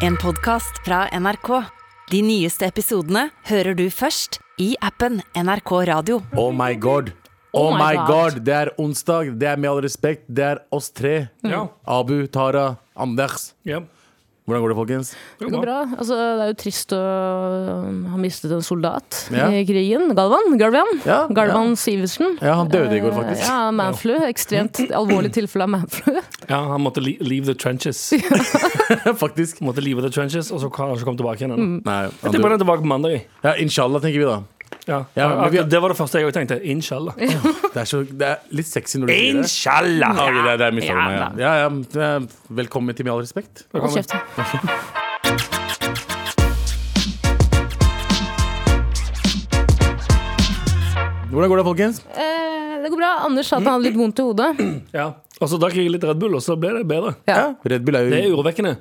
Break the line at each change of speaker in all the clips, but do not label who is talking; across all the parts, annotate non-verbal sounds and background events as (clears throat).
En podcast fra NRK. De nyeste episodene hører du først i appen NRK Radio.
Oh my god. Oh my god, Det er onsdag. Det er med all respekt, det er oss tre.
Ja.
Abu, Tara, Anders.
Ja.
Hvordan går det, folkens?
Det
Det går bra. Altså, det er jo trist å um, ha mistet en soldat
Ja.
i krigen. Galvan. Galvan,
Ja,
Galvan Sivertsen.
Ja, Han døde i går, faktisk.
Ja, manflu. Ekstremt alvorlig tilfelle av
(laughs)
manflu.
Ja, han måtte li- leave the
(laughs)
trenches.
faktisk.
Han måtte leave the trenches, og så kom så kom tilbake igjen.
Mm.
Nei, han
Jeg tenker bare
døde.
tilbake på mandag. jeg.
Ja, Inshallah, tenker vi da.
Ja.
Ja, men
Akkurat
vi har-
Det var det første jeg også tenkte. Inshallah.
Det er, så, det er litt sexy når du sier det.
Inshallah!
Ja, ok, det, det er mitt fornavn, ja. Ja, ja. eh, Velkommen til Med all respekt.
Hold kjeft.
Hvordan går det, folkens?
Eh, det går bra. Anders sa at han hadde litt vondt i hodet.
Ja. Og så drakk jeg litt Red Bull, og så ble det bedre.
Ja.
Red Bull er jo
Det er urovekkende.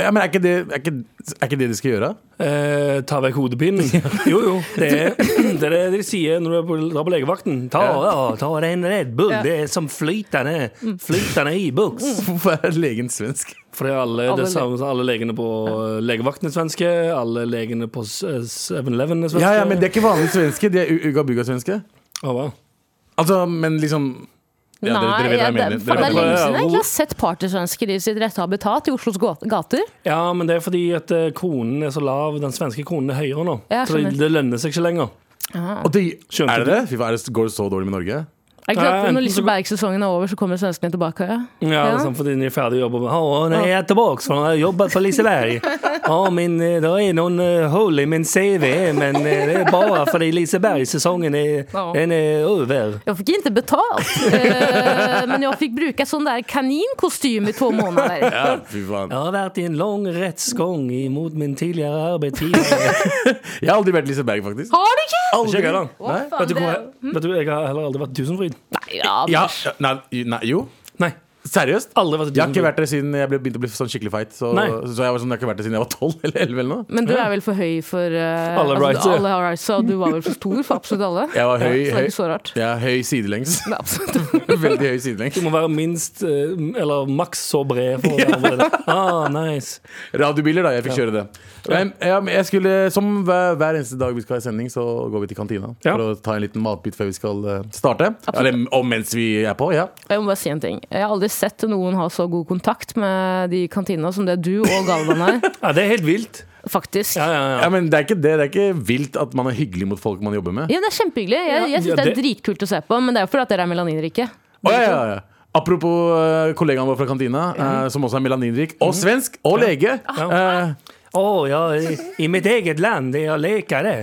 ja, men er, ikke det, er, ikke, er ikke det de skal gjøre?
Eh, ta vekk
(laughs)
hodepinen. Jo, jo. Det er (clears throat) det, er det de sier når du er på, drar på legevakten. Ta, ja, ta deg en Red Bull. Det er som flytende,
Mm.
flytende i buks.
Hvorfor er legen svensk?
Fordi alle,
Alle
det
le-
samme, alle legene på eh, legevakten er svenske, alle legene på s- eh, 7-Eleven er svenske.
Ja, ja, men De er ikke vanlige svenske. De er ugabuga-svenske.
Å, wow.
Altså, men liksom ja, dere, dere vet hva jeg
det,
mener.
faen, det
Dere vet
er
hva
lenge
jeg
mener.
siden jeg egentlig har sett partysvensker i sitt rette habitat i Oslos gå- gater.
ja, men det er fordi at eh, kronen er så lav, den svenske kronen er høyere nå.
Ja,
så det,
skjønner.
det lønner seg ikke lenger.
mener. Og det,
Skjønte
er det det? Fy faen, er det- går det så dårlig med Norge?
Er det ikke
Ja,
det at
enten
Når
så-
Liseberg-sesongen er over, så kommer svenskene tilbake. Ja.
Ja, det er sånn fordi den er ferdig å jobbe med. Å, nei, jeg er tilbake, for jeg har jobbet på
(laughs)
Liseberg. Å, men eh, det er noen eh, hull i min CV, men eh, det er bare fordi Liseberg-sesongen er,
Ja.
den er over.
Jag fick inte betalt, eh, (laughs) men jag fick bruka sån där kaninkostym i
(laughs)
två månader.
Ja, fy faen.
Jeg har vært i en lang rettsgang imot min tidligere arbeidsgiver.
(laughs)
Jeg har aldri vært Liseberg, faktisk.
Har du ikke?
Aldri.
Ikke jeg da.
Nei.
faen,
Vet du,
det
hvor,
er
jeg- vet du, jeg har heller aldri vært Tusenfryd.
Nei, ja,
Ja, nei, nei, jo.
Nei,
Seriøst?
aldri vært i
Jeg har ikke
Tusenfryd.
vært der siden jeg ble- begynte å bli sånn skikkelig feit. Så,
Nei.
så jeg, var sånn, jeg har ikke vært der siden jeg var 12 (laughs) eller 11 eller noe.
Men du er vel for høy for eh,
Alle rights, ja.
alle har rights, og du var vel for stor for absolutt alle?
Jeg var høy,
Så det er ikke
høy,
så rart.
jeg er høy sidelengs. (laughs)
Nei, absolutt. (laughs)
Veldig høy sidelengs.
Du må være minst, eh, eller maks så bred for å være
(laughs)
med det. Ah, nice.
Radiobiler, da. Jeg fikk kjøre det. Men, ja, men jeg skulle, som hver, hver eneste dag vi skal ha sending, så går vi til kantina
Ja.
for å ta en liten matbit før vi skal eh, starte. Eller, og mens vi er på, ja.
Jeg må bare si en ting. Jeg har aldri sett noen ha så god kontakt med de kantina som det du og Galvan har,
(laughs) Ja, det er helt vilt.
faktisk.
Ja, ja, ja.
ja men det er, ikke det, det er ikke vilt at man er hyggelig mot folk man jobber med.
Ja, men det er kjempehyggelig. Jeg, jeg
Ja,
syns det er
det-
dritkult å se på, men det er jo fordi at dere er melaninrike.
Å, ja, ja, ja. Apropos eh, kollegaen vår fra kantina, eh, som også er melaninrik, og svensk, og lege. Eh,
Å ja, i, i mitt eget land er jeg lekere.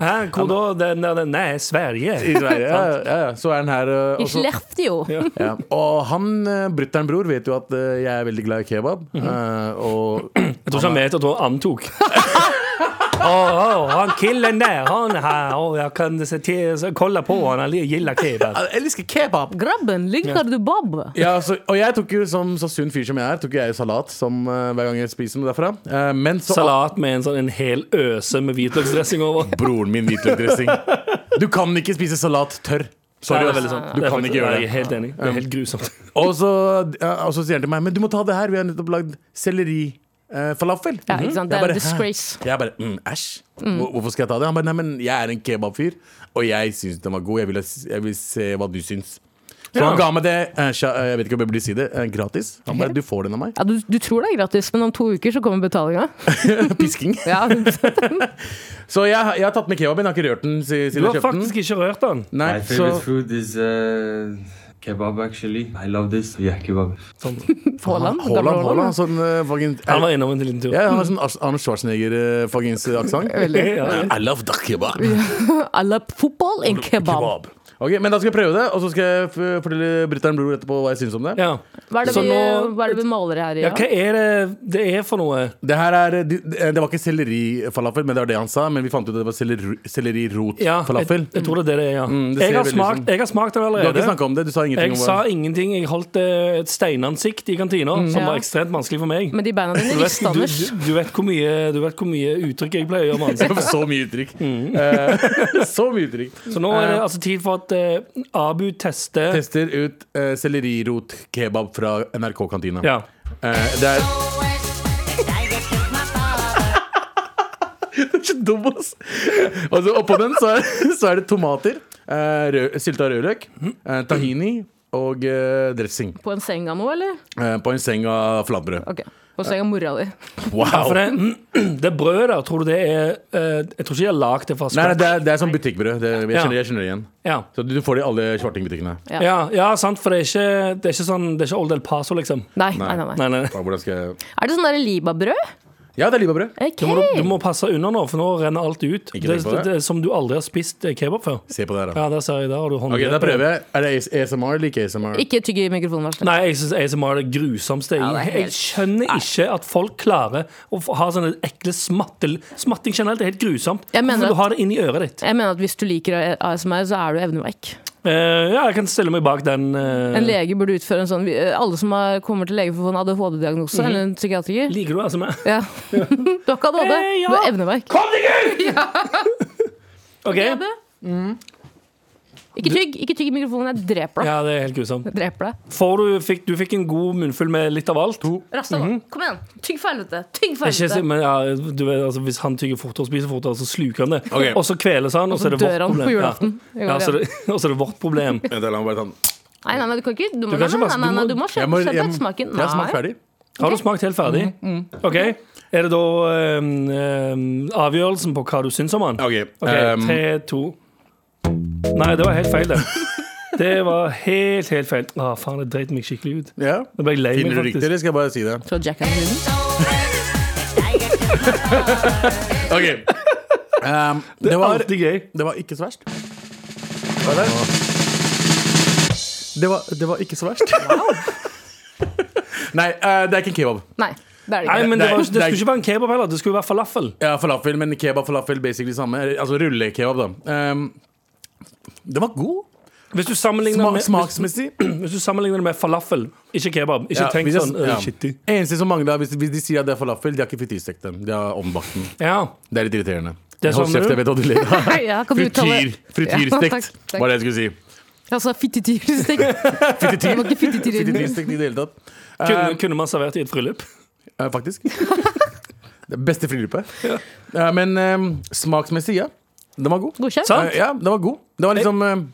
Hæ, hvor da? Den, den, den,
I
nei, Sverige. (laughs)
Sverige. Ja, ja, ja. Så er han her. eh,
I
også-
Skellefteå.
Ja. Og han, eh, brutter'n bror, vet jo at eh, jeg er veldig glad i kebab. eh, og (clears throat)
Jeg tror ikke han vet at hun
(laughs)
antok. Å, å, han killen der, han her, å, jeg kan se til, så kolla på han, han gillar kebab.
Jeg elsker kebab!
Grabben, ligger du bob?
Ja, så, og jeg tok jo, som så sunn fyr som jeg er, tok jo jeg salat som, eh, hver gang jeg spiser noe derfra. Eh, men så
Salat med en sånn en hel øse med hvitløksdressing over.
Broren min, hvitløkdressing. (laughs) Du kan ikke spise salat tørr. Sorry,
Nei, det er
ass.
veldig sant.
sånn, Du
Det er
kan
faktisk-
ikke gjøre
Jeg er
det.
helt enig. Det er helt grusomt.
Og så, ja, og så sier han til meg Men du må ta det her, vi har nettopp lagd sellerifalafel.
Ja, ikke sant? Det
Mhm. Jeg
er
bare,
en disgrace.
Jeg bare mm, æsj. Hvor- Hvorfor skal jeg ta det? Han bare nei, men jeg er en kebabfyr, og jeg syns den var god. Jeg vil, jeg vil se hva du syns. Så
Ja.
han ga meg det, eh, sja- eh, jeg vet ikke om jeg burde si det, eh, gratis. Han bare du får den av meg. (laughs)
Ja, du, du tror det er gratis, men om to uker så kommer betalinga.
(laughs)
Pisking.
Ja, (laughs)
Så jeg, jeg har tatt med kebaben, jeg har ikke rørt den si-
Du
siden
har
jeg kjøpte den.
faktisk ikke rørt den.
Nei,
My
så
favorite food is uh, kebab actually. I love this. Yeah, kebab.
Haaland. gamle
Haaland, Haaland,
altså.
sånn eh, fucking
Han var innom en liten tur.
Ja, han har sånn Ars- eh, Arne
(laughs)
Schwarzenegger-aksent.
Ja.
I love the kebab.
I love football and kebab.
Ok, men da skal jeg prøve det, og så skal jeg f- fortelle brutter'n Bror etterpå hva jeg syns om det.
Ja.
Hva er det
Så
vi,
nå-
hva er det vi maler her i?
ja, hva
Ja?
er det det er for noe?
Det her er, det det var ikke sellerifalafel, men det var det han sa. Men vi fant ut at det var selleri,
Ja, jeg,
sellerirotfalafel.
jeg tror det er det det er, ja.
det ser
Jeg har
veldig
smakt,
sånn-
jeg har smakt den
Du har ikke snakka
allerede.
om det, du sa ingenting
Jeg
om (laughs)
sa
hva
ingenting. Jeg holdt eh, et steinansikt i kantina, som
Ja.
var ekstremt vanskelig for meg.
Med de beina dine
Du vet,
rista,
du,
Anders.
du, du, vet hvor mye, du vet hvor mye uttrykk jeg pleier å gjøre med ansikt.
Så mye
(laughs)
uttrykk.
Mhm.
Eh, (laughs) så mye uttrykk.
Så nå er det altså tid for at eh, Abu tester
Tester ut uh, sellerirotkebab fra NRK-kantina.
Ja.
(laughs)
Eh, det er
Deilig
dum, (laughs) ass. Og så Altså, oppå den så, så er (laughs) det tomater, eh, rød- sylta rødløk, eh, tahini og eh, dressing.
På en seng av noe, eller?
Eh, På en seng av flatbrød.
Ok, På en seng av mora di.
Wow!
For det, (clears throat) det brødet der, tror du det er eh, Jeg tror ikke de har lagd det fra
Nei, nei,
scratch.
det er, det er sånn butikkbrød. Det, jeg,
Ja.
kjenner, jeg kjenner det igjen.
Ja.
Så du får det i alle svartingbutikkene.
Ja.
Ja, ja, sant, for det er ikke, det er ikke sånn Det er ikke Old El Paso, liksom.
Nei, nei, nei. nei.
Nei, nei.
Hvordan skal jeg
Er det sånn der libabrød?
Ja, det er libabrød.
Ok.
Du må, du må passe unna nå, for nå renner alt ut.
Ikke
Det,
tenk på
det,
det.
er Som du aldri har spist eh, kebab før.
Se på det her, da.
Ja, der ser jeg der har du
Ok,
håndgrepet.
Da prøver jeg. Er det AS- ASMR eller ikke ASMR?
Ikke tygg i mikrofonen, vær så snill.
Nei, jeg syns ASMR er det
Ja,
grusomste.
det er
Jeg,
helt-
jeg skjønner ikke at folk klarer å f- ha sånne ekle smattel... Smatting generelt er helt grusomt.
Jeg mener at-
Hvorfor vil du har det inn i øret ditt?
Jeg mener at hvis du liker ASMR, så er du evneveik.
Eh, ja, jeg kan stille meg bak den. eh,
En lege burde utføre en sånn vi- Alle som har, kommer til lege for å få en ADHD-diagnose,
Mhm.
eller en psykiatriker
Liker du ASMR?
ja. (laughs) Du har ikke ADHD,
Eh, ja.
du er evneveik.
OK. Mhm.
Ebbe? Ikke tygg ikke tygg i mikrofonen, jeg dreper deg.
Ja, det er helt grusomt.
Jeg Dreper deg.
Får du, fikk, du fikk en god munnfull med litt av alt.
Rasta, da.
Mhm.
kom igjen. Tygg for helvete. Tygg for
Ikke, så-
helvete.
men ja, du vet, altså, hvis han tygger fortere og spiser fortere, så sluker han det.
Ok.
Og så kveles han, og så er det
dør
vårt
han på
problem.
julaften.
Ja. Ja, så er det, og så er det vårt
(laughs)
problem.
Vent, la meg bare ta den.
Nei, nei, men du kan ikke Du må,
Du
nei,
kan ikke
nei,
bare-
nei,
du
nei,
må-
du må
Jeg
kjenne
må-
kjenne
jeg-
på smaken.
Jeg har smakt
Nei.
ferdig.
Har du smakt helt ferdig?
Mm,
OK. Er det da ehm, ehm, avgjørelsen på hva du syns om han?
Ok,
OK,
ehm,
tre, to Nei, det var helt feil, det.
(laughs)
Det var helt, helt feil. Å, faen, jeg dreit meg skikkelig ut.
ja.
Da ble jeg lei meg,
Finner du riktig,
faktisk.
eller skal jeg bare si (laughs) det?
Fra Jack and Jill.
Ok Ehm, det, var,
Alltid gøy.
det var ikke så verst. Hva er det? Det var, det var ikke så verst. Nei, eh, det er ikke en kebab.
Nei, det er det
Nei,
ikke.
men det,
Nei,
var, det
nei.
skulle ikke være en kebab heller, det skulle være falafel.
Ja, falafel, men kebab falafel basically samme. Altså rullekebab, da. Ehm, den var god.
Hvis du sammenligner,
Sma
med, hvis,
(clears throat) smaksmessig.
hvis du sammenligner det med falafel, ikke kebab Ikke
Ja,
tenk
hvis jeg-
sånn ja.
ja.
shitty.
Eneste som mangler, hvis, hvis de sier at det er falafel, de har ikke frityrstekt den. De har ombakt den.
Ja.
Det er litt irriterende.
Det
Hold
savner
kjeft,
du?
jeg vet hva du ler av.
Nei, ja, kan du uttale-
Frityr, frityrstekt,
Ja, takk,
var det jeg skulle si.
takk. Altså,
(laughs)
fittityrstekt. Det var ikke fittityrstekt.
Frityrstekt i det hele tatt.
Kunne,
Eh,
kunne man servert i et bryllup?
eh, faktisk. Det beste frilupet. Eh, men eh, smaksmessig, ja. Den var god.
Godkjent?
Sant?
Eh, ja, den var god. Den var liksom eh,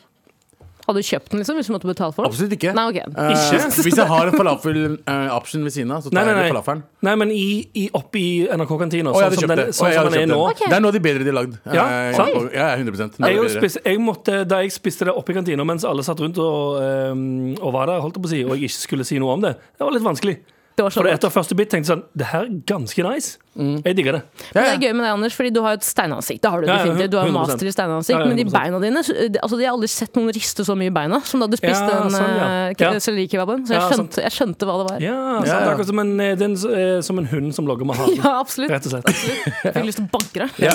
Hadde du kjøpt den liksom, hvis du måtte betale for den?
Absolutt ikke.
Nei, ok.
Eh, hvis jeg har en falafel-option ved siden av, så tar
Nei, nei,
jeg
nei.
den falafelen.
Nei, men i, i, oppe i NRK-kantina,
Å, jeg hadde
sånn som
kjøpt
den,
det. Å,
sånn
jeg
som
hadde
den er
kjøpt
nå.
det. det er noe av de bedre de har lagd.
Ja,
Eh,
sant?
ja, 100 Noe
Jeg,
av
jo
de bedre.
spiste, jeg måtte, da jeg spiste det oppe i kantina mens alle satt rundt og, eh, og var der, holdt jeg på å si, og jeg ikke skulle si noe om det, det var litt vanskelig.
Det var så
For
bra.
etter første bit tenkte jeg sånn Det her er ganske nice.
Mm.
Jeg digger det.
Men det er gøy med deg, Anders, fordi du har jo et steinansikt. Det har du
Ja, ja,
definitivt. Du har jo
100%.
master i steinansikt,
Ja, ja,
men de
100%.
beina dine så- det- Altså, jeg har aldri sett noen riste så mye i beina som da du spiste
Ja,
den
sånn, ja.
eh,
Ja.
sellerikebaben. Så jeg
Ja, sant.
skjønte, jeg skjønte hva det var.
Ja, sant,
Ja, ja.
akkurat som en, eh, det er en s- eh, som en hund som logger
(laughs)
med halen.
(laughs) Ja, absolutt.
Rett og slett.
Jeg fikk lyst til å banke deg.
Ja.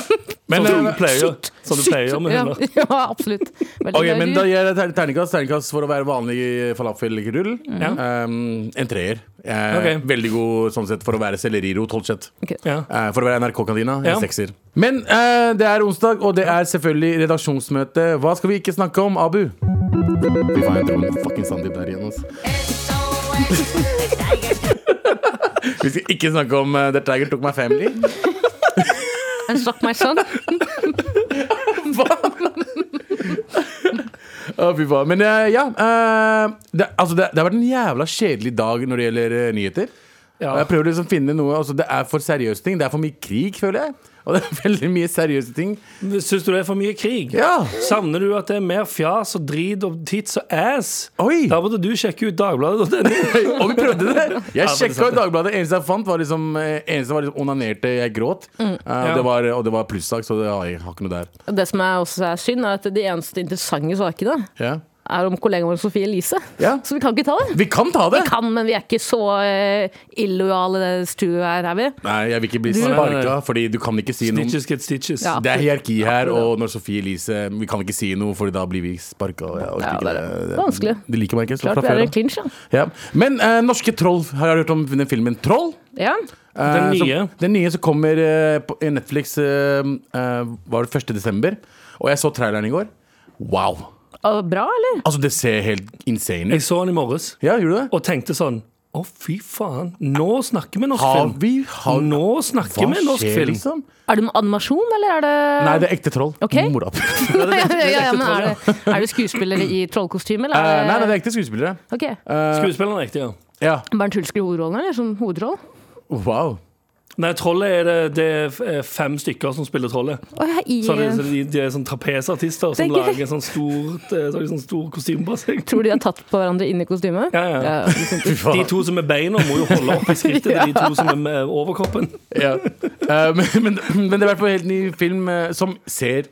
Men,
Sånn som
eh,
du pleier å gjøre- sånn du pleier å gjøre med
Ja,
hunder.
ja, (laughs) absolutt. Veldig
Ok,
gøy.
men
Du-
da gir jeg ter- terningkast, terningkast for å være vanlig falafelrull.
Mm.
Ja.
Um, en treer. Eh,
Ok.
Veldig god sånn sett for å være sellerirot, holdt kjett.
Ok.
Ja.
Eh, for å være NRK-kantina, en
Ja.
sekser. Men eh, det er onsdag, og det er selvfølgelig redaksjonsmøte. Hva skal vi ikke snakke om, Abu? Fy faen, jeg tror det er fucking Sandeep der igjen, altså. Vi skal ikke snakke om uh, The Tiger Took My Family.
And suck my son.
Å, fy faen. Men eh, ja. eh, det, altså, det, det har vært en jævla kjedelig dag når det gjelder eh, nyheter.
Ja.
Og Jeg prøver liksom å finne noe altså, Det er for seriøse ting. Det er for mye krig, føler jeg. Og det er (laughs) veldig mye seriøse ting.
Syns du det er for mye krig?
Ja!
Savner du at det er mer fjas og drit og tits og ass?
Oi!
Da burde du sjekke ut
(laughs)
Dagbladet.no.
Og vi prøvde det!
Ja,
Jeg
for det
sjekka
sant.
ut Dagbladet. Eneste jeg fant, var liksom eh, Eneste var liksom onanerte, jeg gråt.
Mm.
Eh, og, det var, og det var plussak, så det, ja, jeg har ikke noe der.
Og Det som er også er synd, er at de eneste interessante sakene
Ja.
er om kollegaen vår Sofie Elise.
Ja.
Så vi kan ikke ta det.
Vi kan ta det!
Kan, men vi er ikke så eh, illojale i det studioet her, er vi?
Nei, jeg vil ikke bli
Du-
sparka, fordi du kan ikke si noe.
Snitches get stitches.
Ja.
Det er hierarki her, og når Sofie Elise Vi kan ikke si noe, for da blir vi sparka.
Ja, det er vanskelig.
De liker meg ikke. så
Klart
fra
vi er
før
i
av.
clinch, ja.
Ja. Men eh, norske troll. Har jeg hørt om den filmen Troll?
ja.
Eh,
Den nye.
Som, den nye som kommer eh, på i Netflix eh, eh, Var det 1. desember Og jeg så traileren i går Wow
Og bra, eller?
Altså det ser helt insane
Jeg
ut
så den i morges
Ja, gjorde du det?
og tenkte sånn Å, fy faen. Nå snakker vi norsk
Har
film.
vi har,
Nå snakker vi norsk film.
liksom?
Er det med animasjon, eller er det
Nei, det er ekte troll.
Ok.
(laughs) Mora.
(laughs) ja, ja, ja, men er, det, er det skuespillere i trollkostyme, eller?
Eh, nei, nei, det
er
er ekte skuespillere.
Ok.
Eh,
Skuespilleren er riktig, ja.
ja.
Bernt Hulsker i hovedrollen, eller? Som hovedroll?
Wow.
Nei, trollet er det, det er fem stykker som spiller trollet.
Å, ja, i,
Så det, så de, de er sånn trapesartister som
Det er gøy.
lager sånn stort eh, sånn, sånn stor kostyme på seg.
(laughs) Tror du de har tatt på hverandre inn i kostymet?
Ja, ja.
Ja, liksom.
De to som er beina, må jo holde opp i skrittet til de to som er med overkroppen.
Ja. Eh, men, (laughs) men, men det er i hvert fall en helt ny film eh, som ser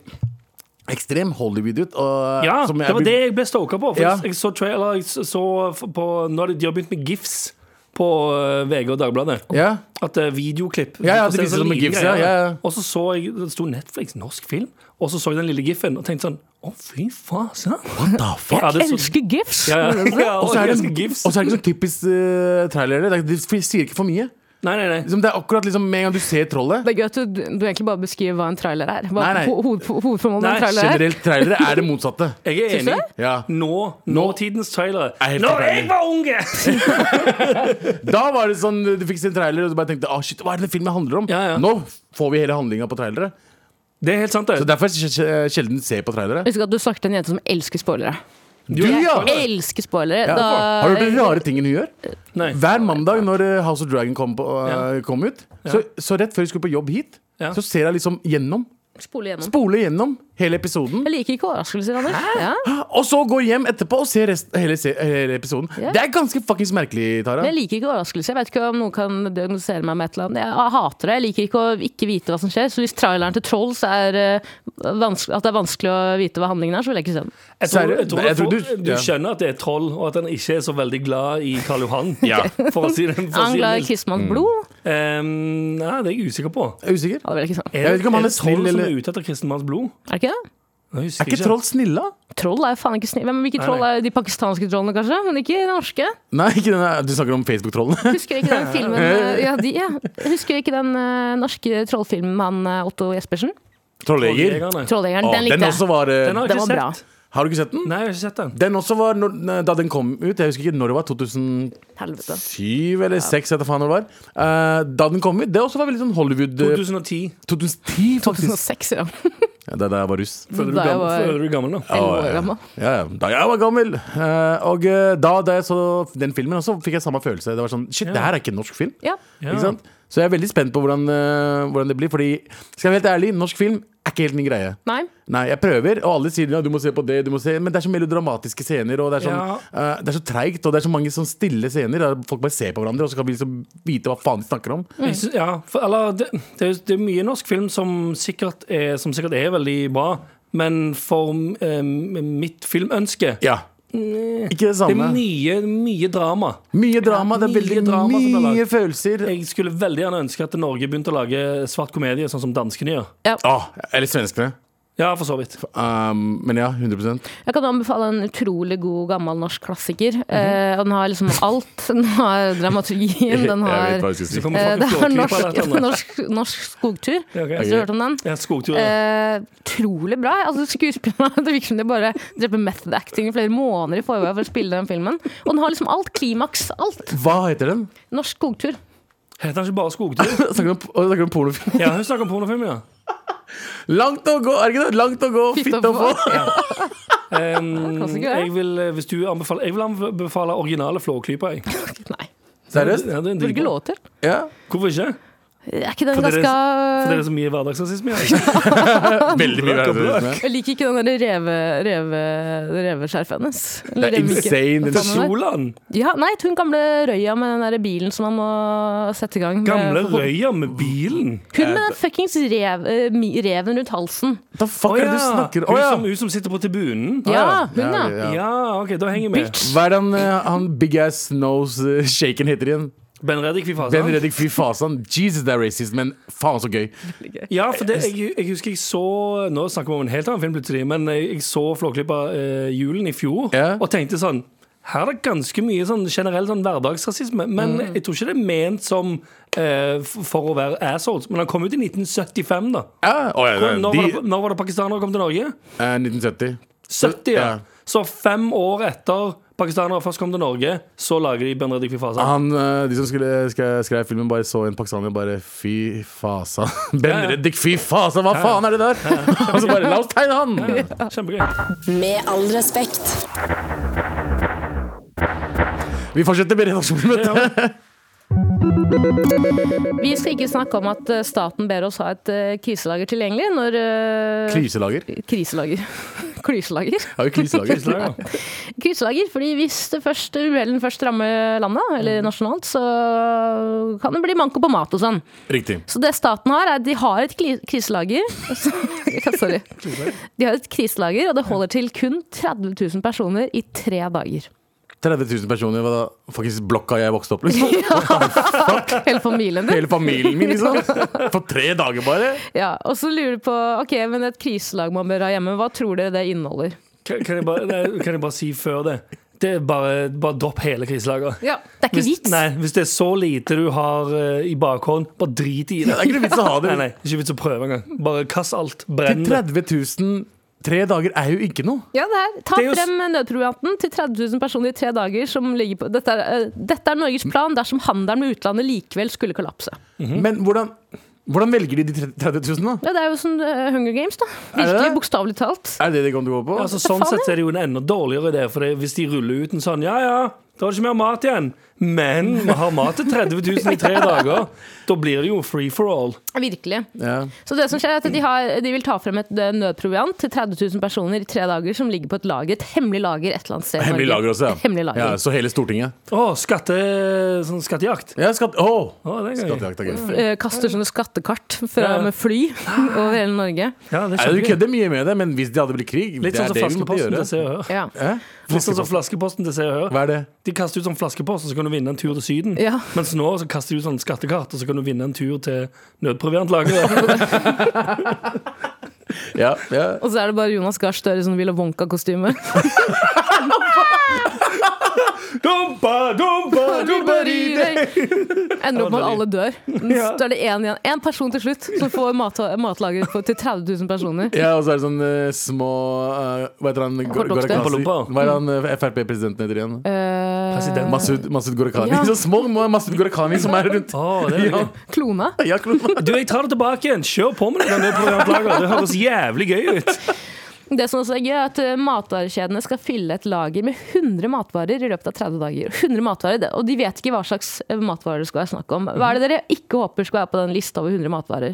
ekstrem Hollywood ut. Og, eh,
Ja,
som
det var det jeg ble stoka på. For
Ja.
jeg så trailer, jeg så på Nå har de, de har begynt med gifs på eh, VG og Dagbladet.
Ja.
At eh, videoklipp
Ja, ja, de
Du får se
viser det
sånne
med
liten
gifs, ja,
greier.
ja, ja.
Og så så jeg Det sto Netflix, norsk film, og så så jeg den lille gifen og tenkte sånn Å, fy faen. se her."
What the fuck?
Ja, det så-
Elsker gifs!
Ja,
(laughs)
ja, ja,
Og så er det,
elsker gifs.
og så er det ikke sånn typisk uh, trailer. det er- De sier ikke for mye.
Nei, nei, nei.
Liksom, det er akkurat liksom, med en gang du ser trollet
Det er gøy at du, du egentlig bare beskriver hva en trailer er. Hva
Nei, nei.
ho- hoved- Hovedformålet med
Nei,
en trailer er.
Generelt trailere er det motsatte.
Jeg er
Syns du
enig.
Ja.
Nå, nåtidens trailere.
Er helt
Når
forferdelig.
jeg var
(laughs)
unge!
Da var det sånn du fikk se en trailer og du bare tenkte ah, shit, hva er det den filmen handler om?
Ja, ja.
Nå får vi hele handlinga på trailere.
Det er helt sant,
Så
det.
derfor jeg sj- sjelden ser på trailere.
Husk at du snakket til en jente som elsker spoilere.
Du, ja!
Jeg elsker spoilere.
Ja.
Da,
Har du hørt de rare tingene hun gjør?
Nei.
Hver mandag når eh, House of Dragon kom, på, eh, kom ut, så, så rett før vi skulle på jobb hit,
Ja.
så ser jeg liksom gjennom.
Spole gjennom.
Spole gjennom hele episoden.
Jeg liker ikke overraskelser, Anders. Ja.
Og så går hjem etterpå og ser rest, hele, se- hele episoden.
Ja.
Det er ganske fuckings merkelig, Tara.
Men jeg liker ikke overraskelser. Jeg vet ikke om noen kan diagnosere meg med et eller annet. Jeg hater det. Jeg liker ikke å ikke vite hva som skjer. Så hvis traileren til Trolls er eh, vanskelig, at det er vanskelig å vite hva handlingen er, så vil jeg ikke se den.
Jeg tror,
Sverre,
jeg tror,
jeg tror
du,
du-
du
ja.
skjønner at det er et troll, og at han ikke er så veldig glad i Karl Johan. (laughs) For å si det
Er han
for å si det Mm.
glad i
mildt.
Kissmanns blod?
Ehm, nei, det er jeg usikker på.
Jeg er usikker.
Ja, det vil jeg ikke se.
Er,
Jeg vet ikke om han er
det troll
snill eller-
som er ute etter kristen manns blod?
Er det ikke det?
Jeg husker
Er ikke troll snille?
Troll er jo faen ikke snill. Hvem, hvilke
Nei,
troll
nei.
er de pakistanske trollene, kanskje? Men ikke de norske.
Nei, ikke denne, du snakker om
(laughs)
Facebook-trollene.
Husker ikke den filmen eh, Ja, de, ja. Husker ikke den eh, norske trollfilmen med han eh, Otto Jespersen?
Trolljeger.
Trolljegerne.
Trolljegeren.
Å,
Den
den
likte
også
jeg.
var eh,
Den har jeg
Den
ikke
var bra.
sett.
Har du ikke sett den?
Nei, jeg har ikke sett den.
Den også var når, eh, da den kom ut. Jeg husker ikke når det var. 2007
Helvete.
eller 2006, etter faen når det var. Eh, da den kom ut, det også var veldig sånn Hollywood eh,
2010.
2010, faktisk.
2006, ja.
Ja, det er da jeg var russ.
Føler du,
Da jeg
gammel,
var-
føler du gammel nå?
Ja,
Elleve år
ja.
gammel.
Ja, ja. Da jeg var gammel. Eh, og eh, da, da jeg så den filmen også, fikk jeg samme følelse. Det var sånn, shit, det her er ikke en norsk film.
Ja.
Ja.
Ikke sant? Så jeg er veldig spent på hvordan, eh, hvordan det blir. Fordi, skal jeg være helt ærlig, norsk film er ikke helt min greie.
Nei.
Nei, jeg prøver, og alle sier ja, du må se på det, du må se Men det er så melodramatiske scener, og det er, sånn, eh, det er så treigt, og det er så mange sånn stille scener. Der folk bare ser på hverandre, og så kan vi liksom vite hva faen de snakker om.
Mm.
Jeg sy- Ja, for, eller, det, det, er, det er mye norsk film som sikkert er, som sikkert er veldig bra, men for eh, mitt filmønske
Ja. Ikke det
Det er
samme.
mye, mye drama.
Mye drama, det er
Mye
veldig
drama som
mye,
blir lagd.
følelser.
Jeg skulle veldig gjerne ønske at Norge begynte å lage svart komedie, sånn som danskene gjør.
Ah, eller svenskene.
Ja, for så vidt.
Um, men ja, 100
Jeg kan anbefale en utrolig god, gammel norsk klassiker. Eh, og den har liksom alt. (laughs) Den har dramaturgien, den har
(laughs) jeg
Så
skal si.
kommer
eh,
folk
(laughs) Det
til å
er
klokere på
norsk,
dette, Anne.
norsk, norsk skogtur.
Ja, ok.
Hvis du har hørt om den?
Ja, skogtur. ja.
Eh, Utrolig bra. Altså, Skuespillerne (laughs) det virker som de bare dreper method acting i flere måneder i forveien for å spille den filmen. Og den har liksom alt. Klimaks. Alt.
Hva heter den?
Norsk skogtur.
Heter han ikke bare skogtur?
Snakker om, og snakker om pornofilm.
Ja, hun snakker om pornofilm, ja.
Langt å gå, er det ikke det? Langt å gå,
Fitt
fitte
å
å få.
Ehm,
Klassiker, ja.
jeg, vil, eh, hvis du anbefaler, jeg vil anbefale originale Flåklypa. jeg.
(laughs) Nei.
Seriøst?
Ja, det er en
Får du ikke
dritbra.
lov til?
Ja.
Hvorfor ikke?
Er ikke den
For dere-
ganske
For det er så mye
(laughs)
hverdagsrasisme. Ja.
Veldig mye verre.
Jeg liker ikke den der reve, reve, reveskjerfet hennes.
Det
Eller
er
revevinken.
insane.
Hva
Den
faen var det?
Solan!
Ja, nei, hun gamle røya med den der bilen som han må sette i gang. med-
Gamle røya med bilen.
Hun med den fuckings rev, eh, mi- reven rundt halsen.
What the fuck er det du snakker
Hun,
om?
som, hun som sitter på tribunen.
Ja, hun, ja.
ja.
Ja, OK, da henger jeg med.
Hva er det han, eh, han big ass nose eh, shaken heter igjen?
Ben Reddik, fy
Ben
faen.
Reddik, fy fasan. Jesus, det er racist, men faen så gøy.
Ja, for det, jeg, jeg husker jeg så Nå snakker vi om en helt annen film plutselig, men jeg, jeg så Flåklypa eh, julen i fjor
Ja.
og tenkte sånn her er det ganske mye sånn generell sånn hverdagsrasisme, men
Mm.
jeg tror ikke det er ment som eh, f- for å være assholes. Men han kom ut i 1975, da.
Ja, å, ja,
Når,
ja.
var
De,
det, når var det pakistanere kom til Norge?
eh, 1970.
70, ja.
Ja.
Så fem år etter pakistanere først kom til Norge, så lager de Benedikt Fifasa.
Han, eh, de som skulle, skre- skrev filmen, bare så en pakistaner bare Fy fasa. (laughs) Ben Reddik, fy fasa, hva faen er det der?! Og så bare La oss tegne han!
Kjempegøy.
Med all respekt.
Vi fortsetter med redaksjonsmøtet.
Vi skal ikke snakke om at eh, staten ber oss ha et eh, kriselager tilgjengelig når eh,
Kriselager.
(laughs) Kriselager. Klyselager.
Har vi
(laughs)
kriselager?
Kriselager, ja.
Kriselager, fordi hvis det først, uhellen først rammer landet, eller nasjonalt, så kan det bli manko på mat og sånn.
Riktig.
Så det staten har, er at de har et kli- kriselager. (laughs) Ja, Sorry. De har et kriselager, og det holder til kun 30 000 personer i tre dager.
30 000 personer var da faktisk blokka jeg vokste opp,
(laughs)
liksom.
(laughs) Hele familien din.
Hele familien min, liksom. For tre dager, bare.
Ja, og så lurer du på ok, men et kriselag man bør ha hjemme, hva tror dere det inneholder?
Kan, kan, jeg bare, nei, kan jeg bare si før det? Det er bare, bare dropp hele kriselageret.
Ja, Det er ikke
Hvis,
vits.
nei, hvis det er så lite du har eh, i bakhånd, bare drit i det.
Det er ikke noe vits å ha det.
Nei, nei, det er ikke vits å prøve engang. Bare kast alt.
Til
Brenn det.
30 000 tre dager er jo ikke noe.
Ja, det her. Ta
Det er jo s-
frem nødprovianten til 30 000 personer i tre dager. som ligger på... Dette er, eh, dette er Norges plan dersom handelen med utlandet likevel skulle kollapse.
Mhm.
Men hvordan, hvordan velger de de 30 000, da?
Ja, det er jo sånn eh, Hunger Games, da.
det
Virkelig,
det?
bokstavelig talt.
Er det det de kommer til å gå på?
Altså, sånn
faen,
sett så er det jo en enda dårligere idé, for det, hvis de ruller ut en sånn Ja, ja, da er det ikke mer mat igjen. Men vi har mat til 30 000 i
(laughs)
tre dager. Da blir det jo free for all.
Virkelig.
Ja.
Så det som skjer er at de, har, de vil ta frem et eh, nødproviant til 30 000 personer i tre dager som ligger på et lager, et hemmelig lager et eller annet sted. i
Hemmelig
Norge.
lager også, ja.
Et Hemmelig
ja.
lager.
Så hele Stortinget.
Å, skatte, sånn skattejakt.
Ja, skatt... Å!
Å, det er gøy.
Skattejakt er gøy.
Eh, Kaster sånne skattekart fra,
Ja.
med fly (laughs) over hele Norge.
Ja, det er
Nei, du
kjempegøy.
kødder mye med det, men hvis det hadde blitt krig
Litt
Det
sånn
er det
som
vi måtte gjøre.
flaskeposten til Se og Hør.
Ja.
Hæ?
Litt sånn som flaskeposten til Se og Hør.
Hva er det?
De kaster ut sånn flaskepost, og så kan du vinne en tur til Syden.
Ja.
Mens nå så kaster de ut sånn skattekart, og så kan du vinne en tur til nødproviantlageret.
Ja, ja.
Og så er det bare Jonas Gahr Støre i sånn Villa Wonka-kostyme.
(laughs) dumpa, dumpa, dumpa, di, di.
Ender opp med at alle dør.
Ja.
Så er det én igjen. Én person til slutt som får mat, matlagret på, til 30 000 personer.
ja, og så er det sånn eh, små eh, Hva heter han? Gor-
Kortlokste.
Gorakhasi?
Lompa.
Hva er han eh, Frp-presidenten heter igjen?
Eh,
President.
Masud, Masud Gorakhani.
Ja.
(laughs) Så små må- Masud Gorakhani som er rundt. (laughs)
Å, det er
Ja.
gøy.
klona.
Ja, klart.
Du, jeg tar det tilbake igjen. Kjør på med det. der nødproviantlageret. Det høres jævlig gøy
(laughs)
ut.
Det som også er gøy, er at eh, matvarekjedene skal fylle et lager med 100 matvarer i løpet av 30 dager. 100 matvarer, det- Og de vet ikke hva slags eh, matvarer det skal være snakk om. Hva er det dere ikke håper skal være på den lista over 100 matvarer?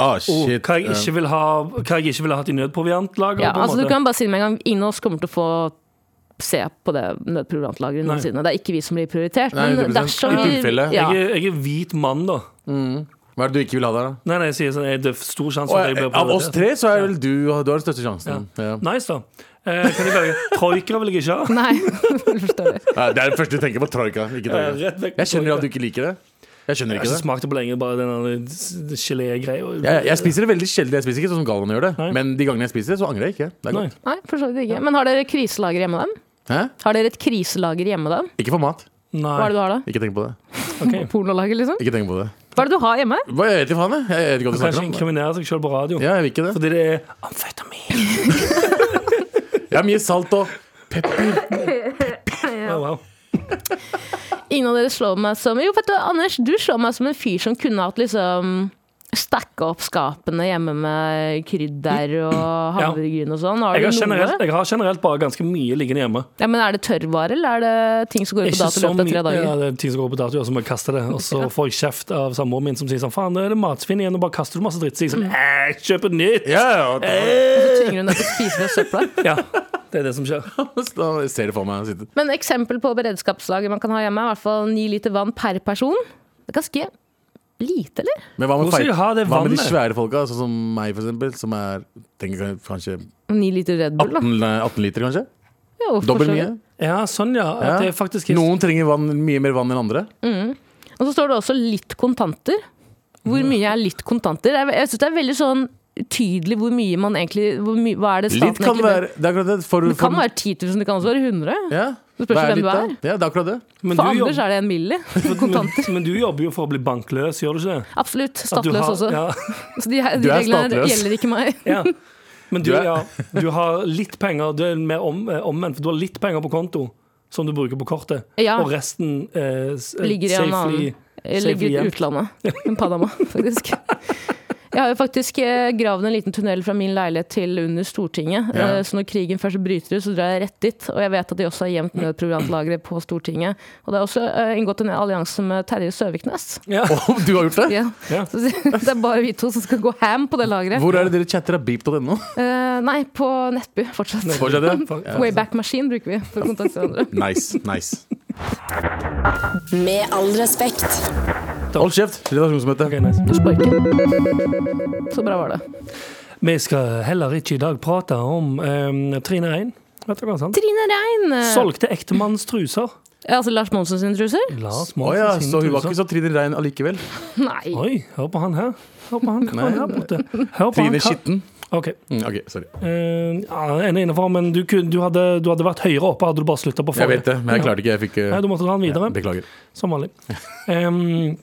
Ah,
Oh,
shit.
hva jeg ikke vil ha Hva jeg ikke vil ha hatt i nødproviantlageret.
Ja,
på en
altså, du
måte.
kan bare si det med en gang. Ingen av oss kommer til å få se på det nødproviantlageret
Nei.
noensinne. Det er ikke vi som blir prioritert.
Nei,
Men
100%.
dersom
I tilfelle.
vi ja.
jeg, er, jeg er hvit mann, da.
Hva er det du ikke vil ha der, da?
Nei, nei, jeg sier sånn, jeg- Det er stor sjanse for
Og,
at
eh,
jeg blir
av oss
prioritert.
tre så er vel du Du har den største sjansen.
(laughs)
Ja.
Nice, da. Eh, kan jeg velge Troika vil jeg ikke
(laughs)
ha.
Nei, (laughs) du forstår det.
Nei, Det er det første du tenker på. Troika. Ikke
Eh,
troika.
Rett vekk.
Jeg skjønner at du ikke liker det. Jeg skjønner
Jeg
ikke
har ikke
det.
smakt det på lenge, bare den der gelégreia.
Jeg, jeg spiser det veldig sjelden. Jeg spiser ikke sånn som Galvan gjør det.
Nei.
Men de gangene jeg spiser det, så angrer jeg ikke. Det er
Nei.
godt.
Nei, for så vidt ikke. Men har dere kriselager hjemme dem?
Hæ?
Har dere et kriselager hjemme dem?
Ikke for mat.
Hva er
Nei.
det du har da?
Ikke tenk på det.
ok.
Pornolager, liksom?
Ikke tenk på det.
Hva er det du har hjemme?
Hva, jeg vet ikke faen, jeg. Jeg vet ikke hva du
Du kan ikke
snakker om.
inkriminere seg selv på radio.
Ja, jeg vil ikke det.
Fordi det er amfetamin.
Jeg har mye salt og pepper.
Oh, wow.
Ingen av dere slår meg som Jo, vet du, Anders, du slår meg som en fyr som kunne hatt liksom Stacka opp skapene hjemme med krydder og havregryn og sånn. Har
Jeg,
du
har
noe?
generelt, jeg har generelt bare ganske mye liggende hjemme.
Ja, men er det tørrvare, eller er det ting som går ut på dato i løpet av tre dager?
Ja, det er ting som går på dato, og så må jeg kaste det. Og så får jeg kjeft av samboeren min som sier sånn Faen, nå er det matsvinn igjen, og bare kaster du masse dritt. Så jeg sånn
Mm.
Æh, kjøp et nytt!
Ja, ja, ja.
tvinger hun deg til å spise fra søpla.
(laughs) Ja, det er det som skjer.
Da ser du for meg sitte
Men eksempel på beredskapslager man kan ha hjemme, er i hvert fall ni liter vann per person. Det er ganske lite, eller?
Men hva med,
Hvorfor
feit-
ha det
hva med de
vannet?
svære folka, sånn som meg for eksempel, som er tenker kanskje
Ni liter Red Bull, da.
18, nei, 18 liter, kanskje?
Jo, for
Dobbelt
så
mye.
vidt.
Ja, sånn, ja. At det er faktisk helt
Noen trenger vann, mye mer vann enn andre.
Og så står det også litt kontanter. Hvor mye er litt kontanter? Jeg, jeg syns det er veldig sånn utydelig hvor mye man egentlig hvor mye, Hva er det staten
Litt kan
egentlig
være Det er akkurat det. For,
Det kan
for,
være 10 000, det kan også være 100.
ja.
Det spørs
Hva
hvem
ditt,
du
da?
er.
Ja, det er akkurat det. (laughs)
men
For
du,
Anders
jobber,
er det en milli. Kontanter.
(laughs) men, men du jobber jo for å bli bankløs, gjør du ikke det?
Absolutt.
At du
Stattløs
har-
også.
Ja,
Så de, her-
Du
de
er
reglene her
(laughs) statsløs.
gjelder ikke meg.
ja. Men du,
Du er-
ja, du har litt penger, du er mer om, eh, omvendt, for du har litt penger på konto som du bruker på kortet,
Ja.
og resten eh, s-
Ligger i en annen-
safely-
Jeg
safely
ligger i
hjem.
utlandet. I Panama, faktisk. Jeg har jo faktisk eh, gravd en liten tunnel fra min leilighet til under Stortinget.
Ja.
Eh, Så når krigen først bryter ut, så drar jeg rett dit. Og jeg vet at de også har gjemt nødproviantlagre på Stortinget. Og det er også eh, inngått en allianse med Terje Søviknes.
Ja.
Å, du har gjort det?
Ja.
Ja.
Så det er bare vi to som skal gå ham på det lageret.
Hvor er det dere chatter av
(laughs)
beep.no?
Eh, Nei, på Nettby fortsatt.
Fortsett, ja.
Wayback Machine bruker vi for å kontakte hverandre.
Nice. nice
Med all respekt.
Hold kjeft! Redaksjonsmøte.
Ok, nice.
Sparken. Så bra var det.
Vi skal heller ikke i dag prate om eh, Trine Rein. Vet dere hva, sant?
Trine Rein. eh,
Solgte ektemannstruser.
Ja, altså Lars Monsen sine truser?
Lars
Å
Monsen
ja,
sine
så hun var
truser.
ikke så Trine Rein allikevel?
Nei.
Oi, hør på han her. Hør på han, hva
Nei.
han her borte. Hør på
Trine
han, hva-
Skitten?
Ok.
Mm, ok, sorry.
Eh, ja, en er innenfor, men du, kunne- du, hadde, du hadde vært høyere oppe hadde du bare slutta på
Jeg
forrige.
vet det, men jeg klarte ikke. Jeg fikk
Nei,
eh,
du måtte dra den videre.
Beklager.
Som vanlig. Ehm,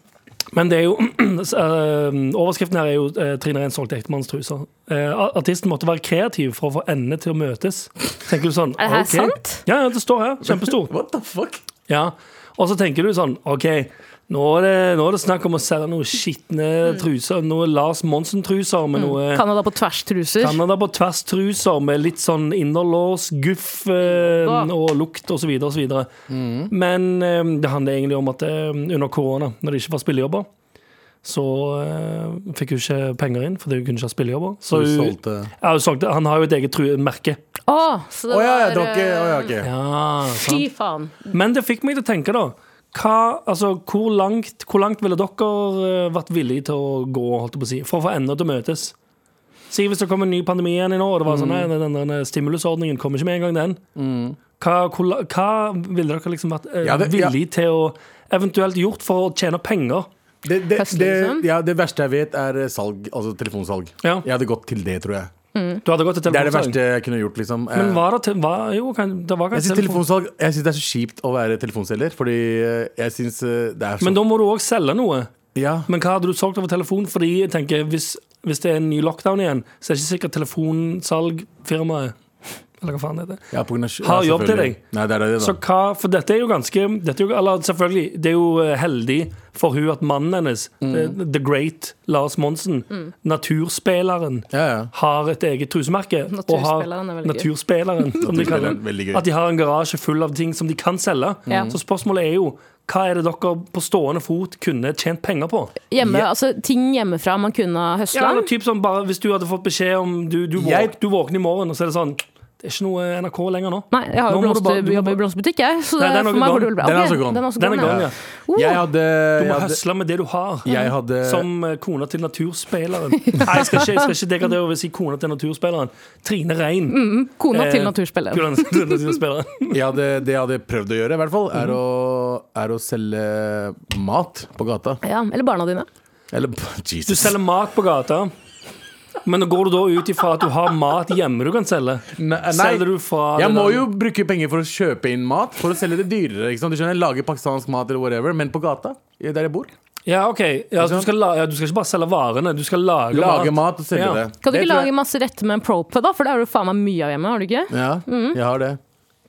men det er jo (clears throat) s- ehm, Overskriften her er jo eh, 'Trine Rein solgte ektemannstruser'. Eh, a- artisten måtte være kreativ for å få endene til å møtes. Tenker du sånn,
Er det her
ok.
sant?
Ja, ja, det står her. Kjempestort.
What the fuck?
Ja. Og så tenker du sånn OK, nå er det, nå er det snakk om å selge noen skitne
Mm.
truser. Noen Lars Monsen-truser med noe
Canada på tvers-truser.
Canada på tvers-truser med litt sånn innerlås, guff eh,
Da.
og lukt osv. osv.
Mm.
Men eh, det handler egentlig om at eh, under korona, når det ikke var spillejobber, så eh, fikk hun ikke penger inn fordi hun kunne ikke ha spillejobber. Så
Du
hun,
solgte Å
Ja, hun solgte. Han har jo et eget tru merke.
Å, så det
ja, ja, det
var eh,
var ikke å, ja, ok.
Ja,
Fy faen.
Men det fikk meg til å tenke, da. Hva, altså, hvor, langt, hvor langt ville dere eh, vært villige til å gå holdt jeg på å si, for å få endene til å møtes? Si hvis det kom en ny pandemi igjen i nå, og det var sånn, nei, den, den, den stimulusordningen kommer ikke med en gang, den.
mm.
Hva, hvor, la- hva ville dere liksom vært eh,
Ja, det- ja.
villige til å eventuelt gjort for å tjene penger?
Det, det,
Høstlig,
det,
liksom?
ja, det verste jeg vet, er salg. Altså telefonsalg.
Ja.
Jeg hadde gått til det, tror jeg.
Du hadde gått til
Det er det
telefonsalg.
verste jeg kunne gjort, liksom.
Men
Eh,
var det, til, var, jo, kan, det var
Jeg
kanskje
syns
telefon-
telefonsalg Jeg synes det er så kjipt å være telefonselger, fordi eh, jeg syns det er så
Men da må du òg selge noe.
Ja.
Men hva hadde du solgt over telefon? Fordi jeg tenker, hvis, hvis det er en ny lockdown igjen, så er det ikke sikkert telefonsalgfirmaet Eller hva faen det heter.
Ja, på grunn av sky-
Ha
ja,
jobb til
selvfølgelig.
deg.
Nei, det er det, da.
Så hva, for dette er jo ganske dette er jo, Eller selvfølgelig, det er jo eh, heldig for hun at mannen hennes,
Mm.
eh, the great Lars Monsen, naturspilleren,
ja, ja.
har et eget trusemerke. og har-
Naturspilleren er veldig gøy.
Naturspilleren, som de kaller
Naturspilleren, veldig
den.
gøy.
At de har en garasje full av ting som de kan selge.
Ja.
Så spørsmålet er jo hva er det dere på stående fot kunne tjent penger på?
Hjemme, altså Ting hjemmefra man kunne ha høsla.
Ja, eller typ sånn bare Hvis du hadde fått beskjed om Du, du, våk,
Jeg-
du våkner i morgen, og så er det sånn Det er ikke noe NRK lenger nå.
Nei, jeg har
Nå
jo
må du
blomster-
bare- du må
jobber i
bare-
blomsterbutikk, jeg. Så
Nei,
det,
den
for
er
meg
ikke gone.
går det vel bra.
Den er
Ok,
altså gone.
Den er også
Den er
gone,
gone,
ja. Uh,
ja.
Jeg hadde
Du må
jeg hadde-
høsle med det du har.
Jeg hadde
Som eh, kona til naturspilleren. Nei, jeg skal ikke, jeg skal ikke degradere over å si kona til naturspilleren. Trine Rein.
Kona
Eh,
til Mm, naturspilleren.
Kona til (laughs) naturspilleren.
jeg hadde, det jeg hadde prøvd å gjøre, i hvert fall, er, å, er å selge mat på gata.
Ja, eller barna dine.
Eller (laughs)
Du
Jesus.
selger mat på gata. Men går du da ut ifra at du har mat hjemme du kan selge?
Nei, nei.
Selger du fra
Jeg
det
må
der-
jo bruke penger for å kjøpe inn mat, for å selge det dyrere. Ikke sant? Du skjønner, Lage pakistansk mat eller whatever, men på gata, der jeg bor.
Ja, OK. Ja, du, skal la, ja, du skal ikke bare selge varene, du skal lage,
Lage mat og selge
Ja.
det.
Kan du
Det
ikke
tror
lage masse retter med en prope, da? For det har du faen meg mye av hjemme, har du ikke?
jeg, Ja, jeg har det.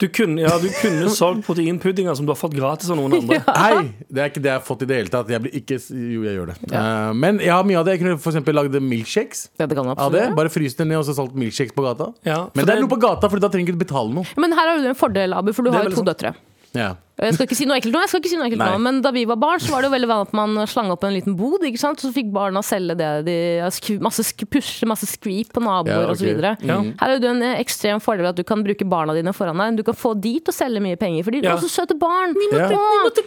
Du kunne, ja, du kunne solgt proteinpuddinger som du har fått gratis av noen
(laughs)
andre.
Hei! Det er ikke det jeg har fått i det hele tatt. Jeg blir ikke Jo, jeg gjør det. Eh, men jeg har mye av det. Jeg kunne for eksempel lagd milkshakes
Det det kan jeg
av det.
absolutt. gjøre.
Bare fryst det ned og så solgt milkshakes på gata.
Ja, for
men det er
det-
noe på gata, for da trenger du ikke betale noe.
Men her har du en fordel, Abu, for du
Det er
har jo
veldig
to
sant.
døtre.
Ja.
Og Jeg skal ikke si noe ekkelt nå, jeg skal ikke si noe ekkelt nå
Nei.
men da vi var barn, så var det jo veldig vanlig at man slang opp en liten bod. ikke sant? Så fikk barna selge det. De, ja, sk masse sk pushe, masse skvip på
Ja,
naboer
ok.
og så videre
Ja.
Mm.
Her har du en eh, ekstrem fordel at du kan bruke barna dine foran deg. Du kan få de til å selge mye penger, for de er
Ja.
så søte barn.
måtte-
Åh.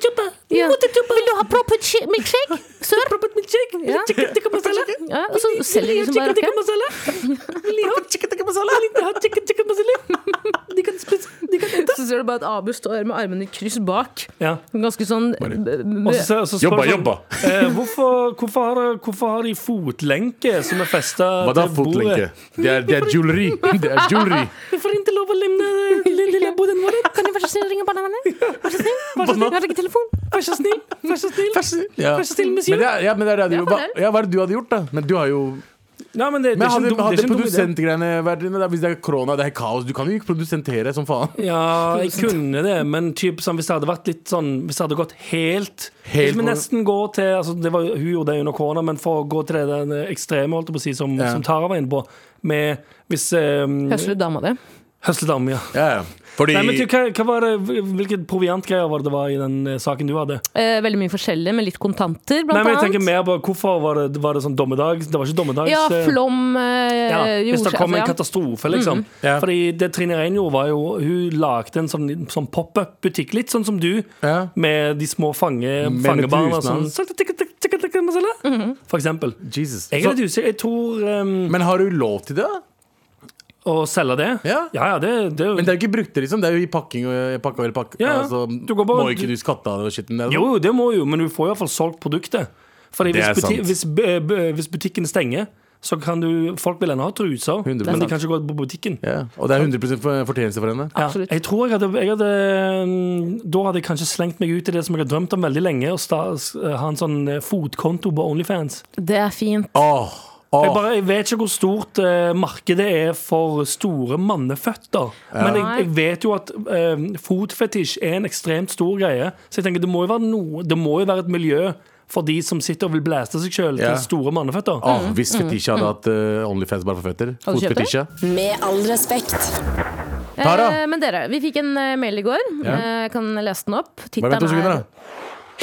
Ja. Vil du ha proppet shi-
(laughs)
milkshake? Sør? Ja. Ja, og så selger de som bare rakker. (laughs) Så ser du bare at Abu står med armene i kryss bak.
Ja.
Ganske sånn
Og så- så- så spør
Jobba,
du sånn,
jobba.
(laughs) Eh, hvorfor, hvorfor, har, hvorfor har de fotlenke som er festa
Hva da, fotlenke? Det er, det er jewelry. Det er jewelry.
Vi får ikke lov å lemne lille boden vår.
Kan du være så snill å ringe barna
(laughs)
mine? Vær så snill.
Vær så snill.
Jeg har ikke telefon.
Vær så snill. Vær så snill.
Vær så snill,
Vær så snill,
Men
monsieur.
det er, ja, men det er det du,
Ja,
hva,
for det.
ja, hva er det du hadde gjort, da? Men du har jo
Ja, men det, det
Men
er ikke en
hadde,
dum- det er
hadde
ikke en dum idé.
produsentgreiene vært inne der, Hvis det er korona, det er kaos Du kan jo ikke produsentere som faen
Ja, jeg kunne det, men typ, sånn, hvis det hadde vært litt sånn Hvis det hadde gått helt
Helt
Hvis vi
på-
nesten går til altså, det var, Hun gjorde det under korona, men for å gå til det den ekstreme, holdt jeg på å si, som,
Ja.
som Tara var inne på, med hvis eh,
Høsler dama di.
Høsledam, ja.
ja, ja. Fordi
Nei, men du, hva, hva var det, hvilket proviantgreier var det det var i den eh, saken du hadde?
Eh, veldig mye forskjellig, med litt kontanter,
Nei,
blant
men jeg tenker
annet.
mer på Hvorfor var det, var det sånn dommedag? Det var ikke dommedags...
Ja,
eh,
flom, eh,
ja, hvis det
jordskjelv,
kom en
ja. Mm.
katastrofe, liksom.
Ja.
Fordi det Trine Rein gjorde, var jo Hun lagde en sånn, sånn pop-up-butikk, litt sånn som du,
Ja.
med de små fange, sånn.
Men
fangebarna
til
som
husene
Mm-hmm.
For eksempel.
Jesus
Jeg er
Så-
litt usikker. Jeg tror ehm,
Men har du lov til det? da?
Å selge det?
Ja.
ja, ja, det, det er jo
Men det er jo ikke brukt det liksom Det er jo i pakking og pakka eller pakka
Ja, ja.
altså,
Du går bare-
Må ikke du skatte av det og shitten der
Jo, det må jo, men du får iallfall solgt produktet. Fordi
Det
hvis,
er
buti
sant.
hvis, b- b- hvis butikken stenger, så kan du Folk vil ennå ha truser,
100%.
men de kan ikke gå på butikken.
ja. Og det er 100% for- fortjeneste for henne
Ja,
Absolutt.
jeg tror jeg hadde, jeg hadde mm, Da hadde jeg kanskje slengt meg ut i det som jeg har drømt om veldig lenge, å sta- s- ha en sånn eh, fotkonto på Onlyfans.
Det er fint.
Åh, åh
Jeg, bare, jeg vet ikke hvor stort eh, markedet er for store manneføtter. Men jeg,
Nei.
jeg vet jo at eh, fotfetisj er en ekstremt stor greie. Så jeg tenker det må jo være, noe, det må jo være et miljø for de som sitter og vil blæste seg sjøl
Ja.
til store manneføtter.
Åh, hvis fetisja hadde hatt eh, Onlyfans bare for føtter
Hadde du kjøpt det?
Fotfetisja
Med all respekt.
Tara!
Eh, men dere, vi fikk en eh, mail i går.
Ja.
Eh, jeg kan lese den opp.
Bare
Tittelen
vent to sekunder
er
da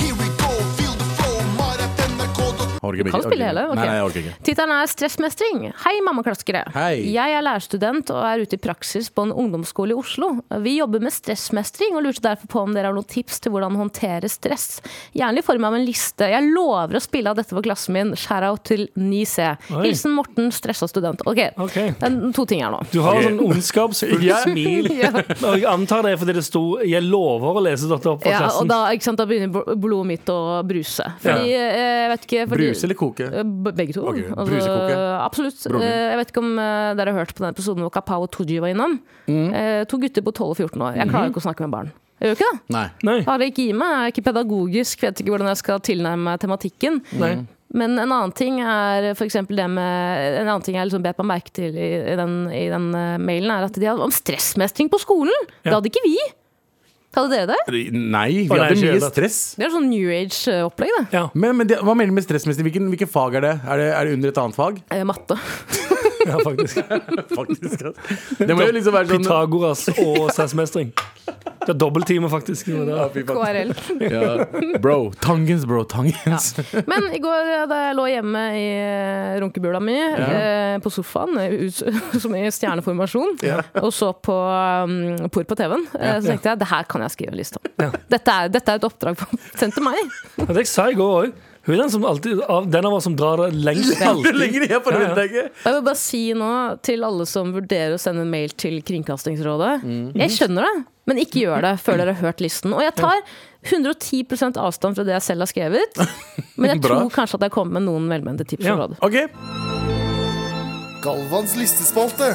Here we go, feel the flow, mar.nrk.no.
Orker ikke,
Kan
orker
spille hele,
ikke.
ok.
Nei, nei, jeg orker ikke
Tittelen er 'Stressmestring'. Hei, mammaklaskere.
Hei.
Jeg er lærerstudent og er ute i praksis på en ungdomsskole i Oslo. Vi jobber med stressmestring og lurte derfor på om dere har noen tips til hvordan håndtere stress. Gjerne i form av en liste. Jeg lover å spille av dette for klassen min. Share-out til 9C.
Oi.
Hilsen Morten, stressa student. Ok,
Ok.
det er to ting her nå.
Du har
Ok.
sånn ondskapsfullt
(laughs) Ja.
smil.
Ja.
Og jeg antar det er fordi det sto 'Jeg lover å lese dette opp for
(laughs) Ja, og
klassen'.
da, ikke sant, da begynner bl- blodet mitt å bruse. Fordi, eh, jeg vet ikke fordi,
Bruse eller koke?
Eh, b- Begge to.
Ok, brusekoke.
absolutt.
Broren din.
Eh, jeg vet ikke om eh, dere har hørt på den episoden hvor Kapao Tooji var innom.
Mm.
Eh, to gutter på 12 og 14 år. Jeg klarer
Mhm.
ikke å snakke med barn. Jeg gjør ikke det.
Nei
Nei.
Har det ikke i meg. Jeg er ikke pedagogisk, vet ikke hvordan jeg skal tilnærme meg tematikken.
Nei.
Men en annen ting er for eksempel det med En annen ting jeg liksom bet meg merke til i, i, den, i den eh, mailen, er at de hadde om stressmestring på skolen. Det hadde ikke vi. Hadde dere det?
Nei, vi
Å, nei,
hadde
ikke
mye
det.
stress
Det er sånn New Age-opplegg, det.
Ja.
Men, men det, hva mener du med stressmester? Hvilken, hvilken fag er det? Er det, er det under et annet fag?
Eh, matte.
ja, faktisk.
Faktisk Det må jo liksom være sånn
(laughs) Pythagoras og stressmestring. Det er dobbelttime, faktisk. Det var det.
Fy faen.
KRL.
Ja. Bro, tangens, bro, tangens
Men i går eh, da jeg lå hjemme i eh, runkebula mi, eh, på sofaen, eh, ut, (laughs) som i stjerneformasjon, og så på um, por på TV-en, eh, så tenkte jeg det her kan jeg skrive en liste om. Dette, er, dette er et oppdrag (laughs) sendt til meg.
Ja, det sa jeg i går òg. Hun er den, som alltid, av, den av oss som drar det lengst.
Aldri
Alltid.
lenger, jeg
Ja, ja.
forventer ikke
Og jeg vil bare si nå til alle som vurderer å sende en mail til Kringkastingsrådet.
Mm.
Jeg skjønner det, men ikke gjør det før dere har hørt listen. Og jeg tar 110 avstand fra det jeg selv har
(laughs)
skrevet, men jeg
Bra.
tror kanskje at jeg kommer med noen velmente tips
Ja.
og råd.
Ok,
Galvans listespalte.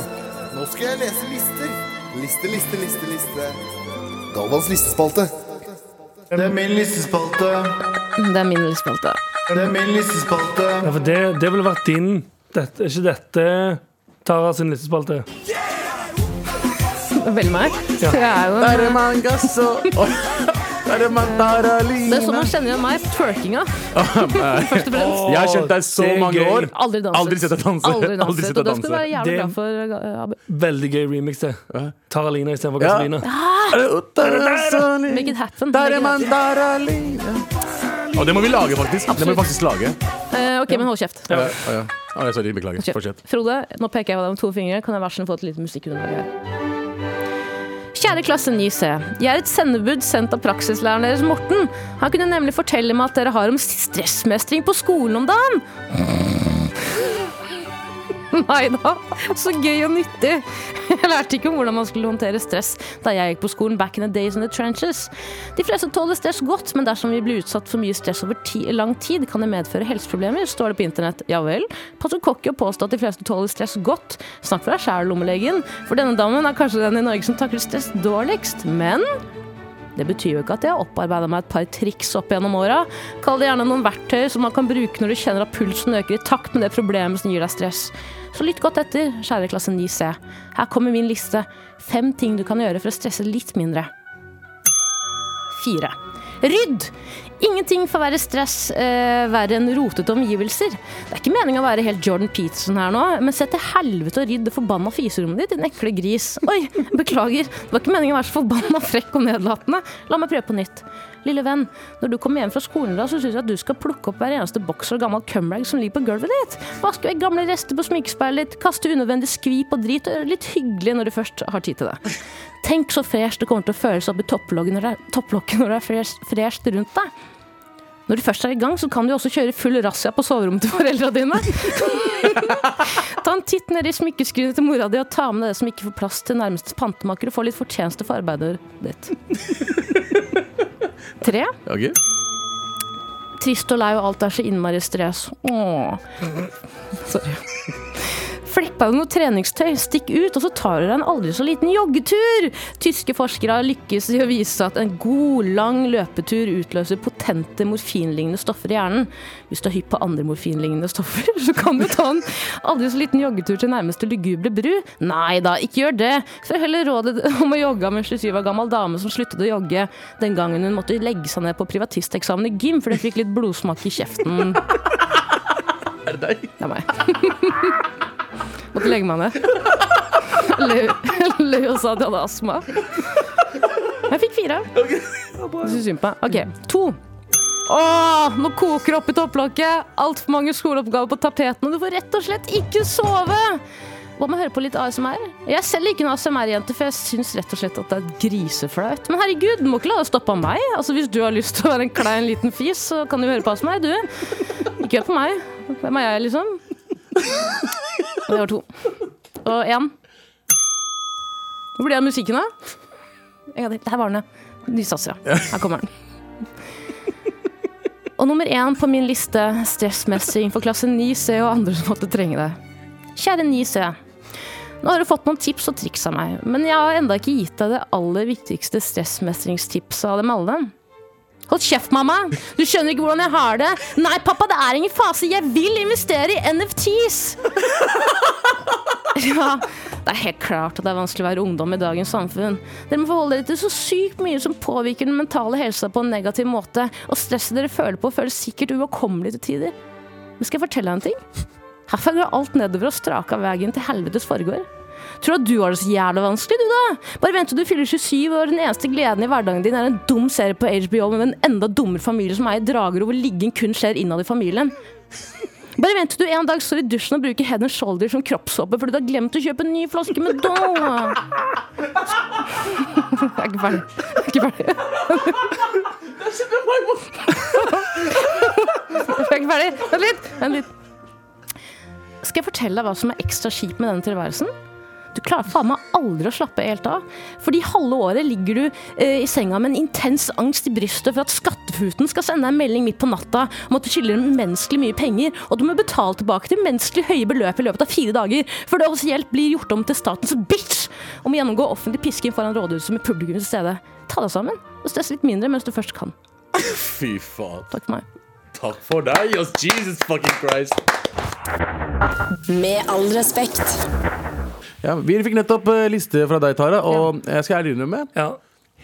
Nå skal jeg lese lister. Liste, liste, liste, liste. Galvans listespalte.
Det er min listespalte.
Det er min listespalte.
Det er min listespalte.
Ja, for det, det ville vært din dette, Er ikke dette Tara sin listespalte?
Velg meg.
Ja.
Jeg er jo
er det
en,
mangasso (laughs) Er det
det er sånn
mandaralina
man kjenner igjen meg. Twerkinga.
Ah,
Først og fremst.
Jeg har kjent deg så
Det er
mange
gøy.
år
Aldri danset.
Aldri sett deg danse.
Aldri danset.
Aldri sett deg
Og det skal du være jævlig
Det-
glad for, eh, Abu.
Veldig gøy remix, det. Taralina istedenfor
Ja.
Gasolina.
Er det utarasolina?
Make it happen.
Er det
Make it happen.
mandaralina? Å, det må vi lage faktisk Det må vi faktisk lage
Eh, ok, men hold kjeft.
Ja, ja. Å, ja, Sorry, beklager, fortsett
Kjeft. Frode, nå peker jeg på deg med to fingre. Kan jeg være snill få et lite musikkunderlag her? Kjære klasse 9C. Jeg er et sendebud sendt av praksislæreren deres, Morten. Han kunne nemlig fortelle meg at dere har om stressmestring på skolen om dagen. (laughs) Nei da, så gøy og nyttig. Jeg lærte ikke om hvordan man skulle håndtere stress da jeg gikk på skolen back in the days in the trenches. De fleste tåler stress godt, men dersom vi blir utsatt for mye stress over ti lang tid, kan det medføre helseproblemer, står det på internett. Ja vel. Pastor Cocky påstår at de fleste tåler stress godt. Snakk for deg sjæl, lommelegen, for denne damen er kanskje den i Norge som takler stress dårligst. Men Det betyr jo ikke at jeg har opparbeida meg et par triks opp gjennom åra. Kall det gjerne noen verktøy som man kan bruke når du kjenner at pulsen øker i takt med det problemet som gir deg stress. Så lytt godt etter, kjære klasse 9C. Her kommer min liste. Fem ting du kan gjøre for å stresse litt mindre. Fire. Rydd! Ingenting får være stress eh, verre enn rotete omgivelser. Det er ikke meningen å være helt Jordan Peterson her nå, men se til helvete og rydd det forbanna fiserommet ditt, din ekle gris. Oi, beklager. Det var ikke meningen å være så forbanna frekk og nedlatende. La meg prøve på nytt. Lille venn, når du kommer hjem fra skolen, da, så syns jeg at du skal plukke opp hver eneste bokser og gammel cumrag som ligger på gulvet ditt. Vaske vekk gamle rester på sminkespeilet ditt, kaste unødvendig skvip og drit, og gjøre det litt hyggelig når du først har tid til det. Tenk så fresh det kommer til å føles opp i topplokket når det er, topplokket når det er fresh, fresht rundt deg. Når du først er i gang, så kan du jo også kjøre full razzia på soverommet til (laughs) foreldra dine. (laughs) ta en titt ned i smykkeskrinet til mora di og ta med deg det som ikke får plass til nærmeste pantemaker, og få litt fortjeneste for arbeidet ditt. Tre.
Ok.
Trist og lei, og alt er så innmari stress. Åh. Sorry. Flepp av deg noe treningstøy, stikk ut, og så tar du deg en aldri så liten joggetur! Tyske forskere har lykkes i å vise at en god, lang løpetur utløser potente morfinlignende stoffer i hjernen. Hvis du er hypp på andre morfinlignende stoffer, (laughs) så kan du ta en aldri så liten joggetur til nærmeste lugubre bru. Nei da, ikke gjør det! Før heller rådet om å jogge av en 27 år gammel dame som sluttet å jogge den gangen hun måtte legge seg ned på privatisteksamen i gym fordi hun fikk litt blodsmak i kjeften. Det (laughs) er meg. Måtte legge meg ned. Løy- Løy og sa at jeg hadde astma. Men jeg fikk fire. Du syns synd på meg. OK, to. Åh, nå koker det opp i topplokket. Altfor mange skoleoppgaver på tapeten, og du får rett og slett ikke sove. Hva med å høre på litt ASMR? Jeg er selv ikke en ASMR-jente, for jeg syns rett og slett at det er griseflaut. Men herregud, du må ikke la det stoppe av meg. Altså, Hvis du har lyst til å være en klein liten fis, så kan du høre på ASMR, du. Ikke hør på meg. Hvem er jeg, liksom? Og det var to. Og én. Hvor ble det av musikken, da? En gang til. Der var den, ja. Ny sats, ja. Her kommer den. Og nummer én på min liste stressmestring for klasse 9C og andre som måtte trenge det. Kjære 9C. Nå har du fått noen tips og triks av meg, men jeg har enda ikke gitt deg det aller viktigste stressmestringstipset av dem alle. Hold kjeft, mamma! Du skjønner ikke hvordan jeg har det. Nei, pappa, det er ingen fase. Jeg vil investere i NFTs! (laughs) Ja, det er helt klart at det er vanskelig å være ungdom i dagens samfunn. Dere må forholde dere til så sykt mye som påvirker den mentale helsa på en negativ måte, og stresset dere føler på, føles sikkert uoverkommelig til tider. Men skal jeg fortelle deg en ting? Herfra går alt nedover og straka veien til helvetes foregår. Tror du at du har det så jævla vanskelig, du da? Bare vent til du fyller 27 år, og den eneste gleden i hverdagen din er en dum serie på HBO med en enda dummere familie som er i drager, og hvor ligging kun skjer innad i familien. Bare vent til du en dag står i dusjen og bruker head and shoulder som kroppshåpe fordi du har glemt å kjøpe en ny flaske med Dong. Jeg er ikke ferdig. (laughs) Jeg er ikke ferdig. Jeg er ikke ferdig. Vent litt. Vent litt. Skal jeg fortelle deg hva som er ekstra kjipt med denne tilværelsen? Du klarer faen meg aldri å slappe helt av. Fordi halve året ligger du eh, i senga med en intens angst i brystet for at skattefuten skal sende deg en melding midt på natta om at du skylder dem menneskelig mye penger, og du må betale tilbake til menneskelig høye beløp i løpet av fire dager før det offisielt blir gjort om til statens bitch om å gjennomgå offentlig pisking foran rådhuset med publikum til stede. Ta deg sammen og stress litt mindre mens du først kan.
Fy faen.
Takk for meg.
Takk for deg, ass. Jesus fucking Christ.
Med all respekt.
Ja, vi fikk nettopp eh, liste fra deg, Tara, og jeg skal ærlig innrømme
Ja.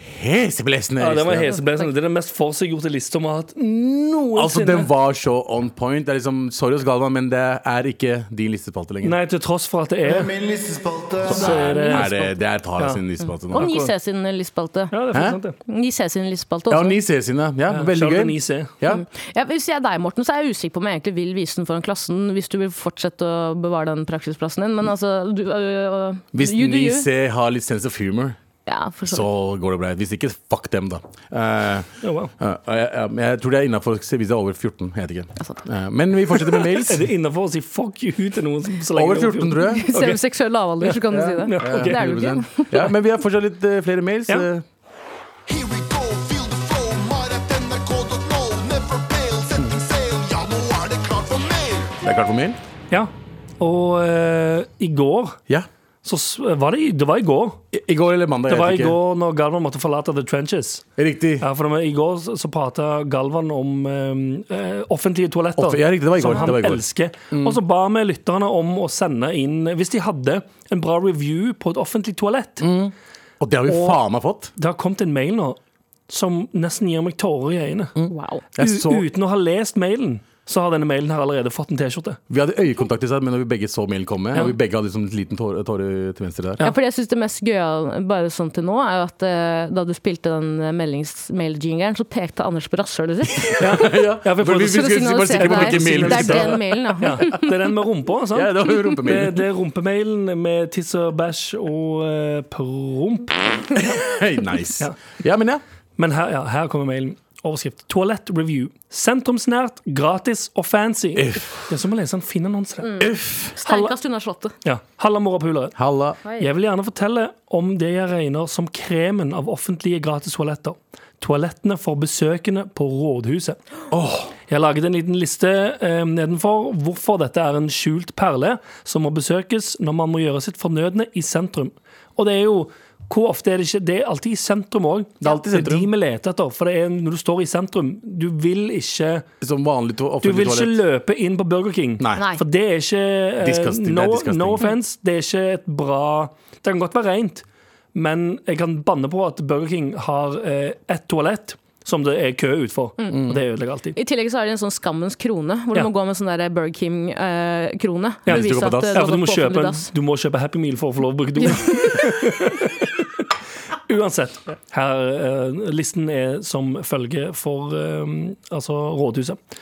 Heseblesende
Ja, det var
liste.
heseblesende. Det er den mest forseggjorte lista vi har hatt noensinne.
Altså, den var så on point. Det er liksom, Sorry, oss, Galvan, men det er ikke din listespalte lenger.
Nei, til tross for at det
Det
er
er min listespalte.
så er det
Er det, det er Tara
Ja.
sin listespalte
Og
nå.
9C sin lystspalte.
Ja, det er
Hæ?
sant, det.
c sin lystspalte
Ja,
også.
ni C sine. Ja, veldig
Shout
gøy.
out til 9C.
Ja.
Ja, hvis jeg er deg, Morten, så er jeg usikker på om jeg egentlig vil vise den foran klassen, hvis du vil fortsette å bevare den praksisplassen din, men altså du, øh, øh,
Hvis
you do
ni
you.
C har litt sense of humor,
Ja, for så
så
vidt.
går det bra. Hvis ikke, fuck dem, da. Eh,
Ja, wow.
ja, og jeg, jeg, jeg tror det er innafor hvis det er over 14. Jeg vet
Ja,
ikke.
sant.
Eh, men vi fortsetter med (laughs) mails.
Er det innafor å si fuck you til noen som så
Over
det er
14, tror
(laughs)
jeg.
Selv om seksuell lavalder, så kan du si det.
Ja, ok.
Det er du ikke.
100%. Ja, men vi har fortsatt litt eh, flere mails.
Ja.
eh.
Here we go, feel the flow, maratnrk.no, never fail, setting sail, ja nå er det klart for mer.
Det er klart for mail?
Ja. Og eh, i går
Ja.
Så s- var det, i- det var i går.
I, I går eller mandag?
Det
jeg
var i
vet ikke.
går når Galvan måtte forlate The Trenches.
Riktig.
Ja, for I går så- så prata Galvan om eh, eh, offentlige toaletter.
Off- ja, riktig, det var i går,
Som han
det var i går. Mm.
elsker. Og så ba vi lytterne om å sende inn Hvis de hadde en bra review på et offentlig toalett.
Mm. Og det har vi
Og-
faen meg fått.
Det har kommet en mail nå som nesten gir meg tårer i øynene.
Wow.
Mm. Jeg
U-
så,
Uten å ha lest mailen, så har denne mailen her allerede fått en T-skjorte.
vi hadde øyekontakt i seg, men når vi begge så mailen komme,
Ja.
og vi begge hadde liksom en liten tåre, tåre til venstre der.
Ja, fordi jeg synes det mest gøye bare sånn til nå, er jo at eh, da du spilte den meldings-mail-jingeren, så pekte Anders på
(laughs)
rasshølet sitt.
(laughs) ja.
Ja, vi
For vi-
For å
prøvde å
skulle bare
signalisere
sikre på
det
hvilken mail
er
vi
det er
skulle ta.
den mailen, ja.
Ja, (laughs) det er den med rumpa, sant?
Ja, det var jo rumpemailen.
Det, det er rumpemailen med tiss og bæsj og eh, promp.
Hey, nice.
Ja.
Ja, men ja.
Men her, ja, her kommer mailen. Overskrift. Toalett-review. Sentrumsnært, gratis og fancy. Det er som å lese en Finn-annonse.
Steinkast unna Slottet.
Ja. Halla, morapulere.
Halla.
Jeg vil gjerne fortelle om det jeg regner som kremen av offentlige gratis toaletter. Toalettene for besøkende på rådhuset. Jeg har laget en liten liste eh, nedenfor hvorfor dette er en skjult perle som må besøkes når man må gjøre sitt fornødne i sentrum. Og det er jo hvor ofte er det ikke Det er alltid i sentrum òg.
Det er alltid i sentrum.
de vi leter etter. For det er når du står i sentrum, du vil ikke
Som vanlig to
Du
offentlig
vil ikke
toalett.
løpe inn på Burger King.
Nei.
Nei.
For det er ikke eh,
Disgusting, det er
no,
disgusting.
no offense, det er ikke et bra Det kan godt være rent, men jeg kan banne på at Burger King har eh, ett toalett som det er kø utenfor. Og det ødelegger alltid.
I tillegg så har de en sånn Skammens krone, hvor
Ja.
du må gå med sånn der Burger eh, King-krone.
Ja,
hvis du går på dass.
Ja, for du må, kjøpe en, du må kjøpe Happy Meal for å få lov å bruke do. (laughs) Uansett. Her, eh, listen er som følger for eh, altså rådhuset.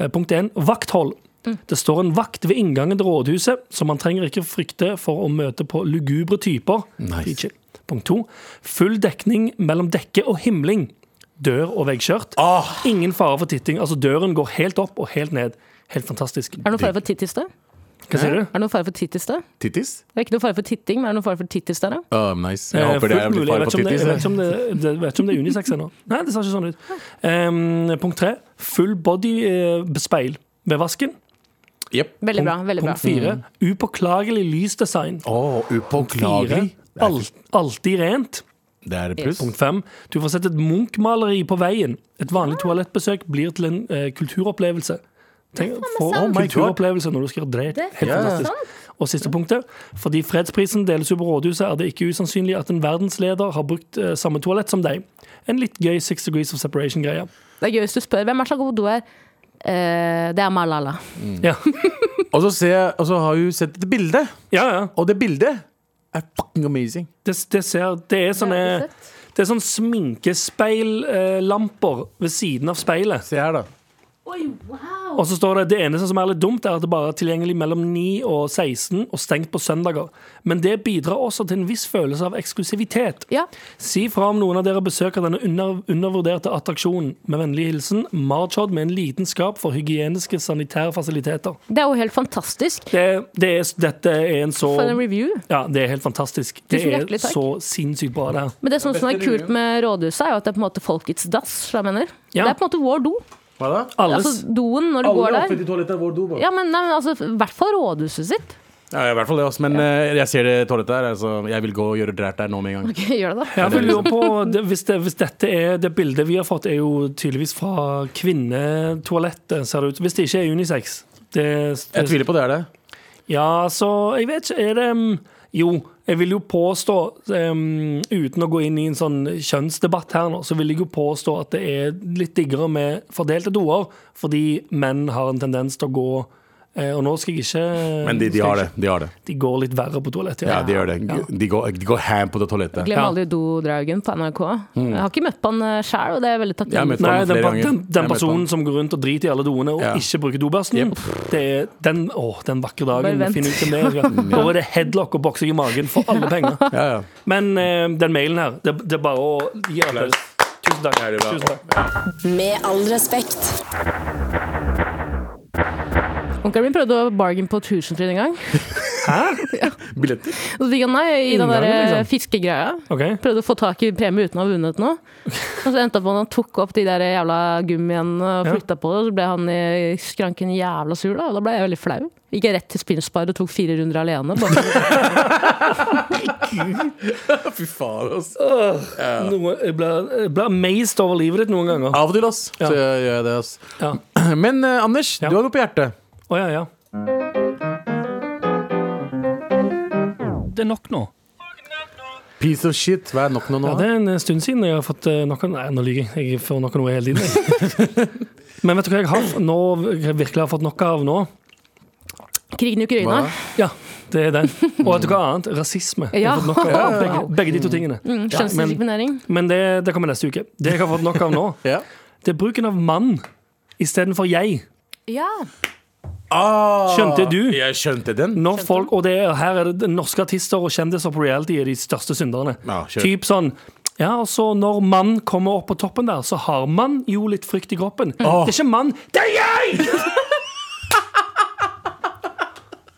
Eh, punkt 1. Vakthold. Det står en vakt ved inngangen til rådhuset, så man trenger ikke frykte for å møte på lugubre typer.
Nice.
Ikke. Punkt 2. Full dekning mellom dekke og himling. Dør og veggskjørt. Ingen fare for titting. Altså, døren går helt opp og helt ned. Helt fantastisk.
Er det noen fare for tittis der?
Hva sier du?
Er det noen fare for tittis der?
Tittis?
Det er ikke noen fare for titting, men er det noen fare for tittis der, da?
Um, nice. Jeg
Eh,
håper det
fullt
er blitt
mulig. Jeg
fare
vet
for
ikke om det-
tittis. eh. jeg.
Jeg vet ikke om det- det- vet ikke om det er unisex ennå. Nei, det ser ikke sånn ut. Em, punkt tre. Full body eh, speil ved vasken.
Jepp.
Veldig bra.
Punkt-
veldig bra.
Punkt fire. Upåklagelig lysdesign.
Å,
Fire.
Mm. upåklagelig. Det er
Al- Alltid rent.
ikke- Det er et pluss.
Punkt fem. Du får sett et Munch-maleri på veien. Et vanlig
Ah.
toalettbesøk blir til en eh, kulturopplevelse. Tenk, for,
sant.
kulturopplevelse når du skal dreie. Helt fantastisk. Og siste punktet. Fordi fredsprisen deles ut på rådhuset, er det ikke usannsynlig at en verdensleder har brukt eh, samme toalett som deg. En litt gøy Six Degrees of Separation-greie.
Det er gøy hvis du spør hvem er så god do her. Eh, det er Malala.
Ja.
Og så, ser jeg, og så har hun sett et bilde,
ja, ja.
og det bildet er fucking amazing.
Det, det, ser, det er sånne
har ikke sett.
det er sånn sminkespeillamper ved siden av speilet.
Se her, da.
Og så står det det eneste som er litt dumt, er at det bare er tilgjengelig mellom 9 og 16 og stengt på søndager. Men det bidrar også til en viss følelse av eksklusivitet.
Ja.
Si fra om noen av dere besøker denne under, undervurderte attraksjonen. Med vennlig hilsen Marchod med en lidenskap for hygieniske sanitære fasiliteter.
Det er jo helt fantastisk.
Det, det er, dette er en så
For en review.
ja, det er helt fantastisk. Det
Tusen
er
hjertelig takk.
så sinnssykt bra, det her.
Men det som også er kult med rådhuset, er jo at det er på en måte folkets dass. skjønner du hva Jeg mener.
Ja.
Det er på en måte vår do.
Hva da?
Alles.
Altså doen når du går der.
toaletter er vår do,
Ja, men, nei, men altså, I hvert fall rådhuset sitt.
Ja, i hvert fall det, altså. Men eh, jeg ser det toalettet her. Altså, jeg vil gå og gjøre drært der nå med en gang.
(laughs) Gjør det, da.
Ja, for jeg lurer på, det, hvis, det, hvis dette er det bildet vi har fått, er jo tydeligvis fra kvinnetoalettet, ser det ut. Hvis det ikke er unisex. Det,
Jeg
det,
tviler på det er det.
ja, så jeg vet ikke. Er det mm, Jo, jeg vil jo påstå, em, uten å gå inn i en sånn kjønnsdebatt her nå, så vil jeg jo påstå at det er litt diggere med fordelte doer, fordi menn har en tendens til å gå eh, Og nå skal jeg ikke
Men de, de har det. De har det.
De går litt verre på toalettet.
Ja, de gjør det. De går, de går ham på det toalettet.
Glem
Ja. Mm.
aldri dodraugen på NRK. Jeg har ikke møtt på han sjæl, og det er jeg veldig
Jeg har
takknemlig
møtt på
for.
Nei,
han
den,
flere
pa-
ganger.
den, den
Jeg møtte
personen
han.
som går rundt og driter i alle doene og
Ja.
ikke bruker dobørsten,
Jep.
det er den, åh, den vakre
Bare
dagen vi
vent.
finner ut hvem
(laughs)
det er. Ja. Da er det headlock og boksing i magen for alle penger.
Ja, ja.
Men eh, den mailen her, det, det er bare å gi applaus. Tusen takk.
det er bra.
Tusen takk.
Med all respekt.
Onkelen min prøvde å bargain på tusenfryd en gang.
Billetter?
Og så fikk han nei i den
Inngangen,
der eh,
liksom.
fiskegreia.
OK.
Prøvde å få tak i premie uten å ha vunnet
(laughs)
noe. Og så endte han på at han tok opp de der jævla gummiene og
Ja.
flytta på det. Og så ble han i skranken jævla sur, da. Og da ble jeg veldig flau. Gikk jeg rett til Spinspar og tok fire runder alene. Bare.
(laughs)
Fy faen, ass.
Eh. Noe, jeg blir jeg blir amazed over livet ditt noen ganger. Å
Av og til, ass.
Ja.
Så jeg gjør jeg det, ass.
ja.
(clears throat) Men eh, Anders,
Ja.
du har noe på hjertet.
Å, ja, ja. Det er nok nå.
Piece of shit. Hva er nok nå? nå?
Ja, det er en stund siden jeg har fått eh, noe Nei, nå lyver jeg. Jeg får noe noe hele tiden. jeg. (laughs) Men vet du hva jeg har f- nå, jeg virkelig har fått noe av nå?
Krigen i Ukraina.
Hva?
Ja, det er den. Og vet du hva annet? Rasisme. Jeg
Ja.
har fått nok av begge, begge de to tingene.
Mm, Kjønnsdiskriminering.
Men det, det kommer neste uke. Det jeg har fått nok av nå,
Ja.
det er bruken av mann istedenfor jeg.
Ja.
Ah,
Skjønte du?
Jeg skjønte den.
Når folk, og det er, her er det de norske artister og kjendiser på reality er de største synderne.
Ja, kjør.
typ sånn ja, og så Når mann kommer opp på toppen der, så har man jo litt frykt i kroppen.
Mm.
Det er ikke mann, det er
(laughs)
jeg!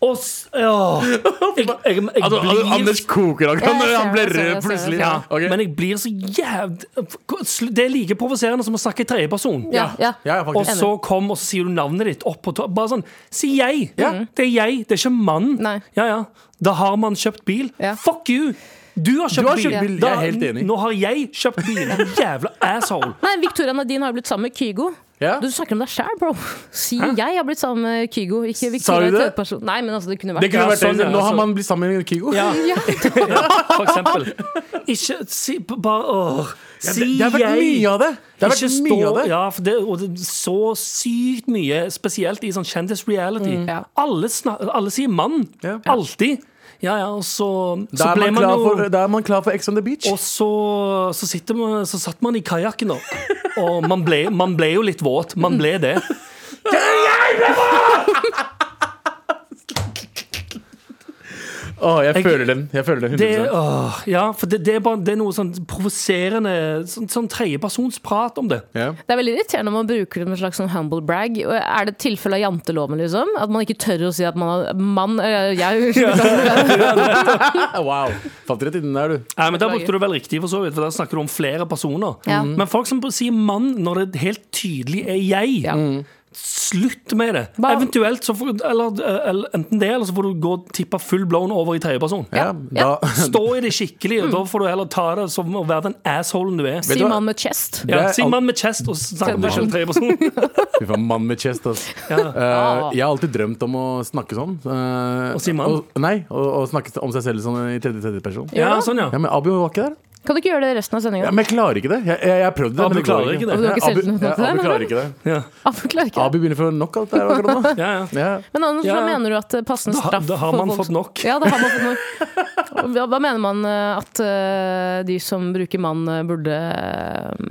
og s- ja. jeg, jeg, jeg,
Altså,
blir-
Anders koker, han,
Ja, jeg ser
han ble
det, jeg
rød
ser det, jeg ser det.
plutselig.
ja,
Ok.
Men jeg blir så jævlig Det er like provoserende som å snakke i tredjeperson.
Ja, ja.
Ja, ja,
Og
faktisk.
så kom, og så sier du navnet ditt opp på topp. Bare sånn, si jeg!
Ja.
Det er jeg, det er ikke mann.
Mhm. Nei.
Ja, ja. Da har man kjøpt bil.
Ja.
Fuck you! Du har kjøpt,
har kjøpt bil.
Da,
Jeg er helt enig.
Nå har jeg kjøpt bil. (laughs) Jævla asshole.
Nei, Victoria Nadine har jo blitt sammen med Kygo.
Ja.
Du snakker om deg sjæl, bro. Si jeg har blitt sammen med Kygo, ikke Victoria.
du det?
tredjeperson. Nei, men altså, det kunne
Det
vært
kunne
Ja,
vært altså.
sånn, ja,
Nå har
så-
man blitt sammen med Kygo.
Ja,
(laughs) ja.
for eksempel. Ikke si b- bare åh.
Ja,
Si
det, det har vært
jeg.
mye av det. Det har
Ikke
vært mye
stå-
av det.
Ja, for det, og det er så sykt mye, spesielt i sånn kjendis-reality.
Ja.
Alle, snak- alle sier mann.
Mm. Ja.
Alltid. Ja, ja, og så,
Da
så
er
ble
man
man
klar
jo
for, da er man klar for Ex on the beach.
Og så, så, sitter man, så satt man i kajakken, da. Og man ble, man ble jo litt våt. Man ble det.
Åh, jeg,
Jeg-
føler den. Jeg føler den
det
100%.
åh, ja, for det, det, er bare, det er noe sånn provoserende Sånn, sånn tredjepersonsprat om det.
Ja.
Det er veldig irriterende om man bruker det som en slags sånn humble brag. Og Er det et tilfelle av janteloven, liksom? At man ikke tør å si at man har mann eller
(laughs)
jeg,
Ah, (laughs) Wow. Falt rett inni der, du.
Nei, men Da brukte du vel riktig, for så vidt, for da snakker du om flere personer.
Ja.
Men folk som sier 'mann' når det helt tydelig er 'jeg'.
Ja.
Slutt med det!
Bare-
Eventuelt så får, eller, eller, Enten det, eller så får du gå og tippe full blown over i tredjeperson.
Ja, da, (laughs)
Stå i det skikkelig,
Mm.
og da får du heller ta det som å være den assholen du er.
Vet du
sier
hva?
mann med chest.
Det
Ja,
er
si
alt-
mann med chest og snakk om deg
(laughs)
selv tredjeperson.
Fy faen, mann med chest, ass. Eh, jeg har alltid drømt om å snakke sånn. eh,
Å si mann?
Og, nei, og, og snakke om seg selv sånn i tredje tredje person.
Ja, sånn, ja.
Ja, men Abu var ikke der.
Kan du ikke gjøre det resten av
Ja,
sendinga?
men jeg klarer ikke det. Jeg, jeg, jeg prøvde det.
Abu
men det går
klarer ikke det.
Abu har ikke
Abu,
selvtillit
ja,
nok til det,
Abu
mener du?
klarer ikke det.
Ja,
Ah, jeg klarer ikke det.
Abu begynner å få knockout der akkurat
(laughs)
nå.
ja, ja.
Ja.
Men Anders,
Ja.
hva mener du at eh, passende
Da har-
straff
da har
for
man
vold-
fått nok.
Ja, da har man fått nok. Hva, hva mener man eh, at eh, de som bruker mann, eh, burde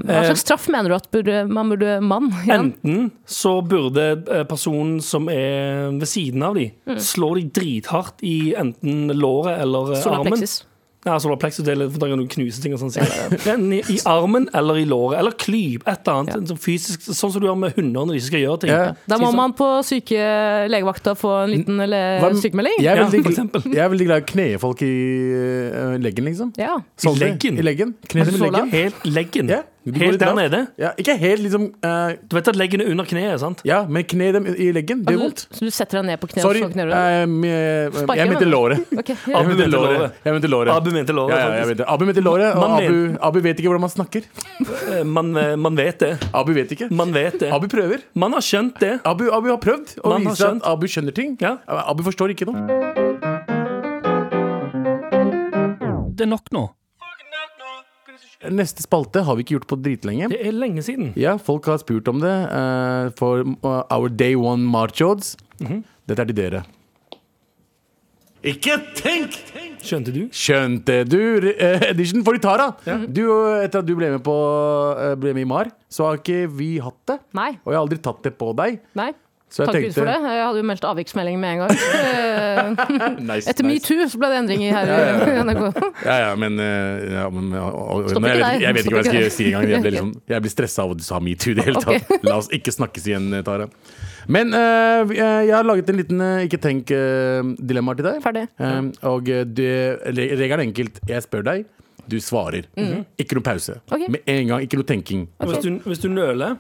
Hva
Eh,
slags straff mener du at burde, man burde mann? igjen?
Enten så burde eh, personen som er ved siden av dem,
Mm.
slå dem drithardt i enten låret eller eh,
Solar
armen.
plexus.
Ja, solarplexus, det er litt- for da kan du knuse ting og sånn. sikkert. Men I, I armen eller i låret, eller klyp, et eller annet. Sånn, fysisk, sånn som du gjør med hunder når de ikke skal gjøre ting.
Ja.
Da må
Si sånn,
man på syke legevakta få en liten le-
Hva-
Eh, sykemelding.
Jeg er
Ja,
veldig,
for eksempel.
jeg er veldig glad i å kne folk i eh, leggen, liksom.
Ja.
Sånn,
leggen?
I leggen. Kne dem i
så
leggen.
Helt leggen.
Ja, du går
helt
litt
der
lavt.
nede.
Ja, ikke helt, liksom. eh,
Du vet at leggen er under kneet, sant?
ja, men kne dem i leggen. Det gjør
Du,
vondt.
så du setter deg ned på kne
Sorry.
og så knurrer du?
eh, med-
Sparker
jeg mente
meg. (laughs)
låret.
Ok, ja.
Jeg mente
mente
låret.
låret.
Jeg mente låret.
Abu mente låret, sånn.
Ja, ja, jeg
faktisk.
mente. Abu mente låret, og
Man
Abu, Abu vet ikke hvordan man snakker.
Eh, Man, eh, man vet det.
Abu vet ikke.
Man vet det.
Abu prøver.
Man har skjønt det.
Abu, Abu har prøvd å
Man har
vise at
skjønt.
Abu skjønner ting.
Ja.
Abu forstår ikke noe.
Det er nok nå.
Neste spalte har vi ikke gjort på dritlenge.
Det er lenge siden.
Ja, folk har spurt om det eh, for eh, Our Day One March Odds. Dette er til dere. Ikke tenk!
Skjønte du?
Skjønte du eh, edition? For de tar av! Du, eh, Etter at du ble med, på, eh, ble med i MAR, så har ikke vi hatt det.
Nei.
Og jeg har aldri tatt det på deg.
Nei.
Så
Takk Gud for det. Jeg hadde jo meldt avviksmelding med en gang. Eh,
(laughs) Nice,
Etter
nice.
metoo så ble det endringer her. i NRK.
Ja, ja, men, eh, ja, men ja, og,
Stopp
men jeg,
ikke
vet,
der.
jeg vet ikke hva jeg
Stopp
skal
ikke
si engang. Jeg
der.
blir liksom, jeg blir stressa av at du sa metoo i det hele
Ok.
tatt. La oss ikke snakkes igjen, eh, Tara. Men eh, vi- eh, jeg har laget en liten eh, ikke tenk-dilemma til deg.
Ferdig.
Eh, og eh, det, re- regelen er enkelt. Jeg spør deg, du svarer. Ikke noe pause.
Mhm. Ok.
Med en gang. Ikke noe tenking.
Hvis, du, hvis du nøler,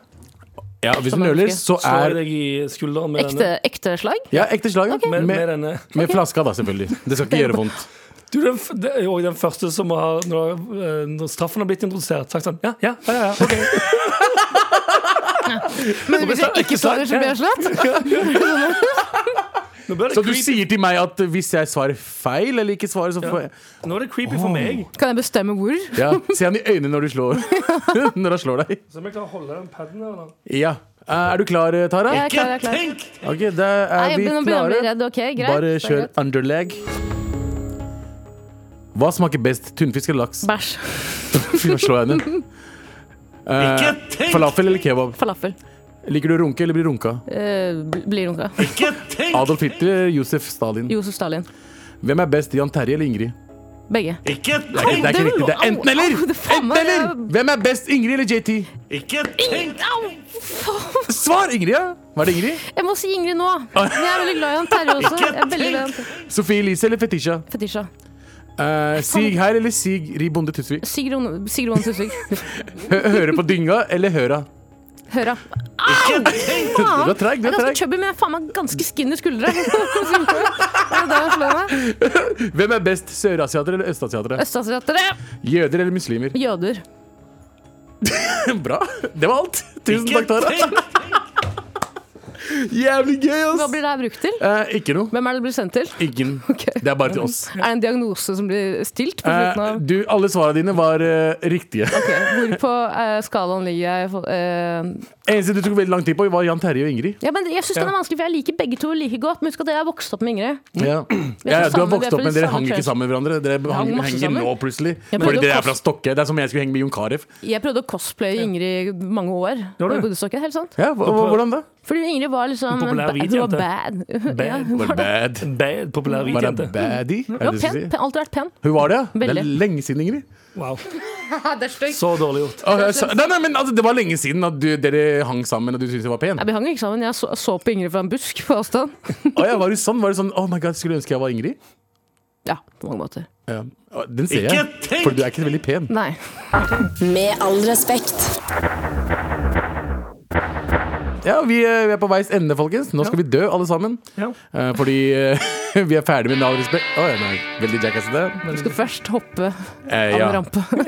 Ja, hvis du
Som
nøler,
ønske.
så
slår jeg
er
deg i skulderen med
Ekte, ekte slag?
Ja, ekte slag. ja.
denne. Med, med
Med,
denne.
med flaska, da, selvfølgelig. Det skal ikke gjøre vondt.
Du, den, f- det er jo den første som har når, eh, når straffen har blitt introdusert, sagt sånn Ja, ja, ja, ja ok.
Men hvis jeg ikke
slag,
svarer, så blir jeg slått?
Nå, blir det
Så du
creepy.
sier til meg at hvis jeg svarer feil eller ikke svarer, så får jeg
Nå er det creepy for meg.
Kan jeg bestemme hvor?
Ja, Se han i øynene når du slår (laughs) Når han slår deg.
Så om jeg klarer å holde den paden her nå.
Ja. Eh, Er du klar, Tara?
Jeg er klar, jeg er klar.
Ok, da er
Nei,
vi
nå begynner jeg å bli
klare.
redd. Ok, greit.
Bare
Det er
kjør
greit.
underleg. Hva smaker best? Tunfisk eller laks?
Bæsj.
(laughs) Fy, nå slår jeg henne. Eh, falafel eller kebab?
Falafel.
Liker du å runke eller bli runka?
Eh, bl- blir runka.
Adolf Hitler eller Josef Stalin?
Josef Stalin.
Hvem er best, Jan Terje eller Ingrid?
Begge.
Det er, ikke- det er ikke riktig. Det er enten eller!
Au, au, det faen
Enten
meg-
eller! Hvem er best, Ingrid eller JT?
Au! faen.
Svar Ingrid, ja! Var det
(laughs)
Ingrid?
Jeg må si Ingrid nå. Men Jeg er veldig glad i han Terje også. Jeg er veldig glad i han Terje.
Sofie Elise eller Fetisha?
Fetisha.
Eh, Sig her eller Sig Ri Bonde Tusvik?
Sigrun Sigrun Susvik.
Hø- Høre på dynga eller høra?
Høra. Au!
Du
Faen!
er treig, du er
Jeg er ganske
treig.
chubby, men jeg er faen meg ganske skinny skuldre. (laughs) Det er det jeg slår meg.
Hvem er best, sørasiatere eller østasiatere?
Østasiatere.
Jøder eller muslimer?
(laughs) Jøder.
Bra. Det var alt. Tusen takk, Tara. Jævlig gøy,
Hva
ass.
blir det her brukt til?
Eh, ikke noe.
Hvem er det det blir sendt til?
(laughs) Ingen. Det er bare til oss.
Er det en diagnose som blir stilt? På
Eh,
slutten av
du, alle svarene dine var eh, riktige.
Ok, Hvor på eh, skalaen ligger jeg? for- eh,
Eneste du tok veldig lang tid på, var Jan Terje og Ingrid.
ja, men jeg synes den er vanskelig, for jeg liker begge to like godt. Men husk at jeg har vokst opp med Ingrid.
Ja. Ja, ja, du har
sammen, Mm. vi
vokst
er fra
opp, men
de
dere
samme
hang ikke
trøs-
sammen med hverandre. Dere hang,
hang masse
henger
sammen.
nå plutselig.
Ja, men
Fordi
det
dere er
kost-
fra Stokke. Det er som om jeg skulle henge med Jon Carew.
Jeg prøvde å cosplaye Ingrid i mange år.
Gjorde
da
du?
jeg bodde i Stokke, helt sant?
Ja, hva- hva- hvordan da?
Fordi Ingrid var liksom
En populær
ba- Hun
hvit
var
jente.
bad. (laughs)
Bad.
Ja, hun
Var det
var det.
bad?
Bad, populær hvit
Var det
jente.
baddie? Er
Hun
det
var
det du
pen.
sier?
pen alltid vært pen.
Hun var det, ja? Det er
Veldig.
lenge siden, Ingrid.
Wow.
(laughs) det er stygt.
Så dårlig gjort.
Åh, jeg sa- nei, nei, men altså, Det var lenge siden at du, dere hang sammen og du syntes jeg var pen.
Nei, Vi hang ikke sammen. Jeg så, så på Ingrid fra en busk på avstand.
Åh, ja, var du sånn? Var du sånn oh my god, Skulle ønske jeg var Ingrid?
Ja, på mange måter.
Ja. Åh, Den ser jeg. For du er ikke veldig pen.
Nei.
Med all respekt.
Ja, Vi, eh, vi er på veis ende, folkens. Nå skal vi dø, alle sammen.
Ja.
Eh, Fordi eh, (laughs) vi er ferdig med Nav respekt. Åh, ja, nei, veldig jackass det.
Du skal først hoppe av
Eh,
en
ja.
rampe.
Eh,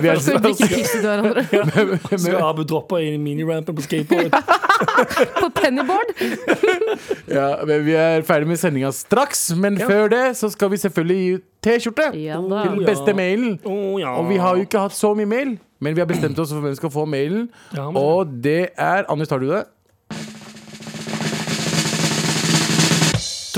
vi er,
(laughs) Så vi drikker piss til hverandre.
(laughs)
Skal Abu droppe i minirampen på skateboard?
På pennyboard.
ja, men vi er ferdig med sendinga straks, men før det så skal vi selvfølgelig gi ut T-skjorte
Ja da.
til den beste mailen.
Å, ja.
Og vi har jo ikke hatt så mye mail, men vi har bestemt oss for hvem som skal få mailen.
Ja, men-
Og det er Anders, tar du det?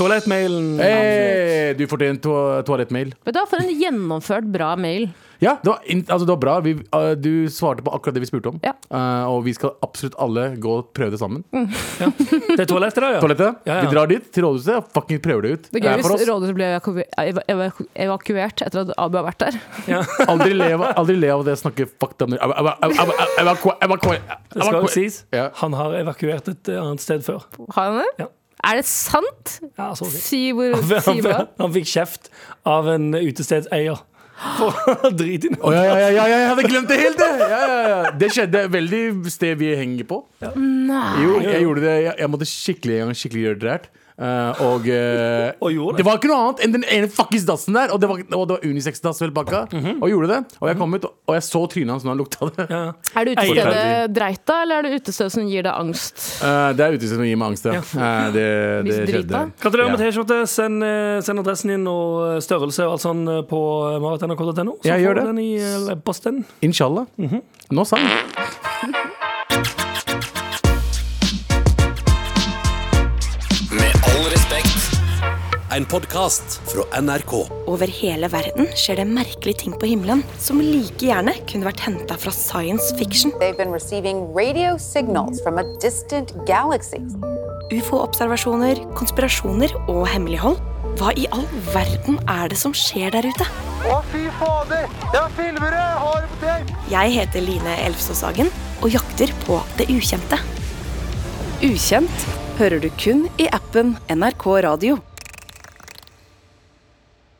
Toalettmailen.
Hey, du fortjente to toalettmail.
Vet du hva, for en gjennomført bra mail.
Ja, det var, in- altså, det var bra. Vi, uh, du svarte på akkurat det vi spurte om.
Ja.
Uh, og vi skal absolutt alle gå og prøve det sammen.
Det er toalettet, da, ja.
Toalettet.
Ja, ja.
Vi drar dit, til rådhuset, og fucking prøver det ut.
Det er gøy
er Eh, for
hvis
oss.
rådhuset blir evaku ev- ev- evakuert etter at Abu har vært der.
Aldri le av- aldri le av det jeg snakker fucked up
Det skal jo sies.
Ja.
Han har evakuert et eh, annet sted før.
Har han det?
Ja.
Er det sant?
Ja, så å si.
Si hvor
(laughs)
si
Han,
hva.
han fikk kjeft av en utestedseier. For (laughs) drit i
Å
noe.
ja, ja, ja, ja, ja, jeg hadde glemt det helt! Det, ja, ja, ja. det skjedde veldig sted vi henger på. Jo, jeg gjorde det. Jeg, jeg måtte skikkelig en gang skikkelig gjøre det rart. Eh, og eh,
Og gjorde
det
det.
var ikke noe annet enn den ene fuckings dassen der! Og det var, og det var unisex-dass og hele pakka.
Mhm.
Og gjorde det. Og jeg kom ut, og jeg så trynet hans når han lukta det.
Er det
Eier.
utestedet dreita, eller er det utestedet som gir deg angst?
Eh, det er utestedet som gir meg angst, ja. Eh, det det skjedde.
Misdrita.
Gratulerer med
Ja.
T-skjorte. Send, eh, send adressen din og eh, størrelse og alt sånn eh, på maratnrk.no. Så
Ja, gjør
får du
det.
den i eh, posten.
Inshallah.
Mhm.
Nå sang.
Med all respekt.
En podkast fra NRK.
Over hele verden skjer det merkelige ting på himmelen som like gjerne kunne vært henta fra science fiction. Ufo-observasjoner, konspirasjoner og hemmelighold. Hva i all verden er det som skjer der ute?
Å, fy fader! Jeg filmer det! Har det på tape!
Jeg heter Line Elfsås Hagen og jakter på det ukjente.
Ukjent hører du kun i appen NRK Radio.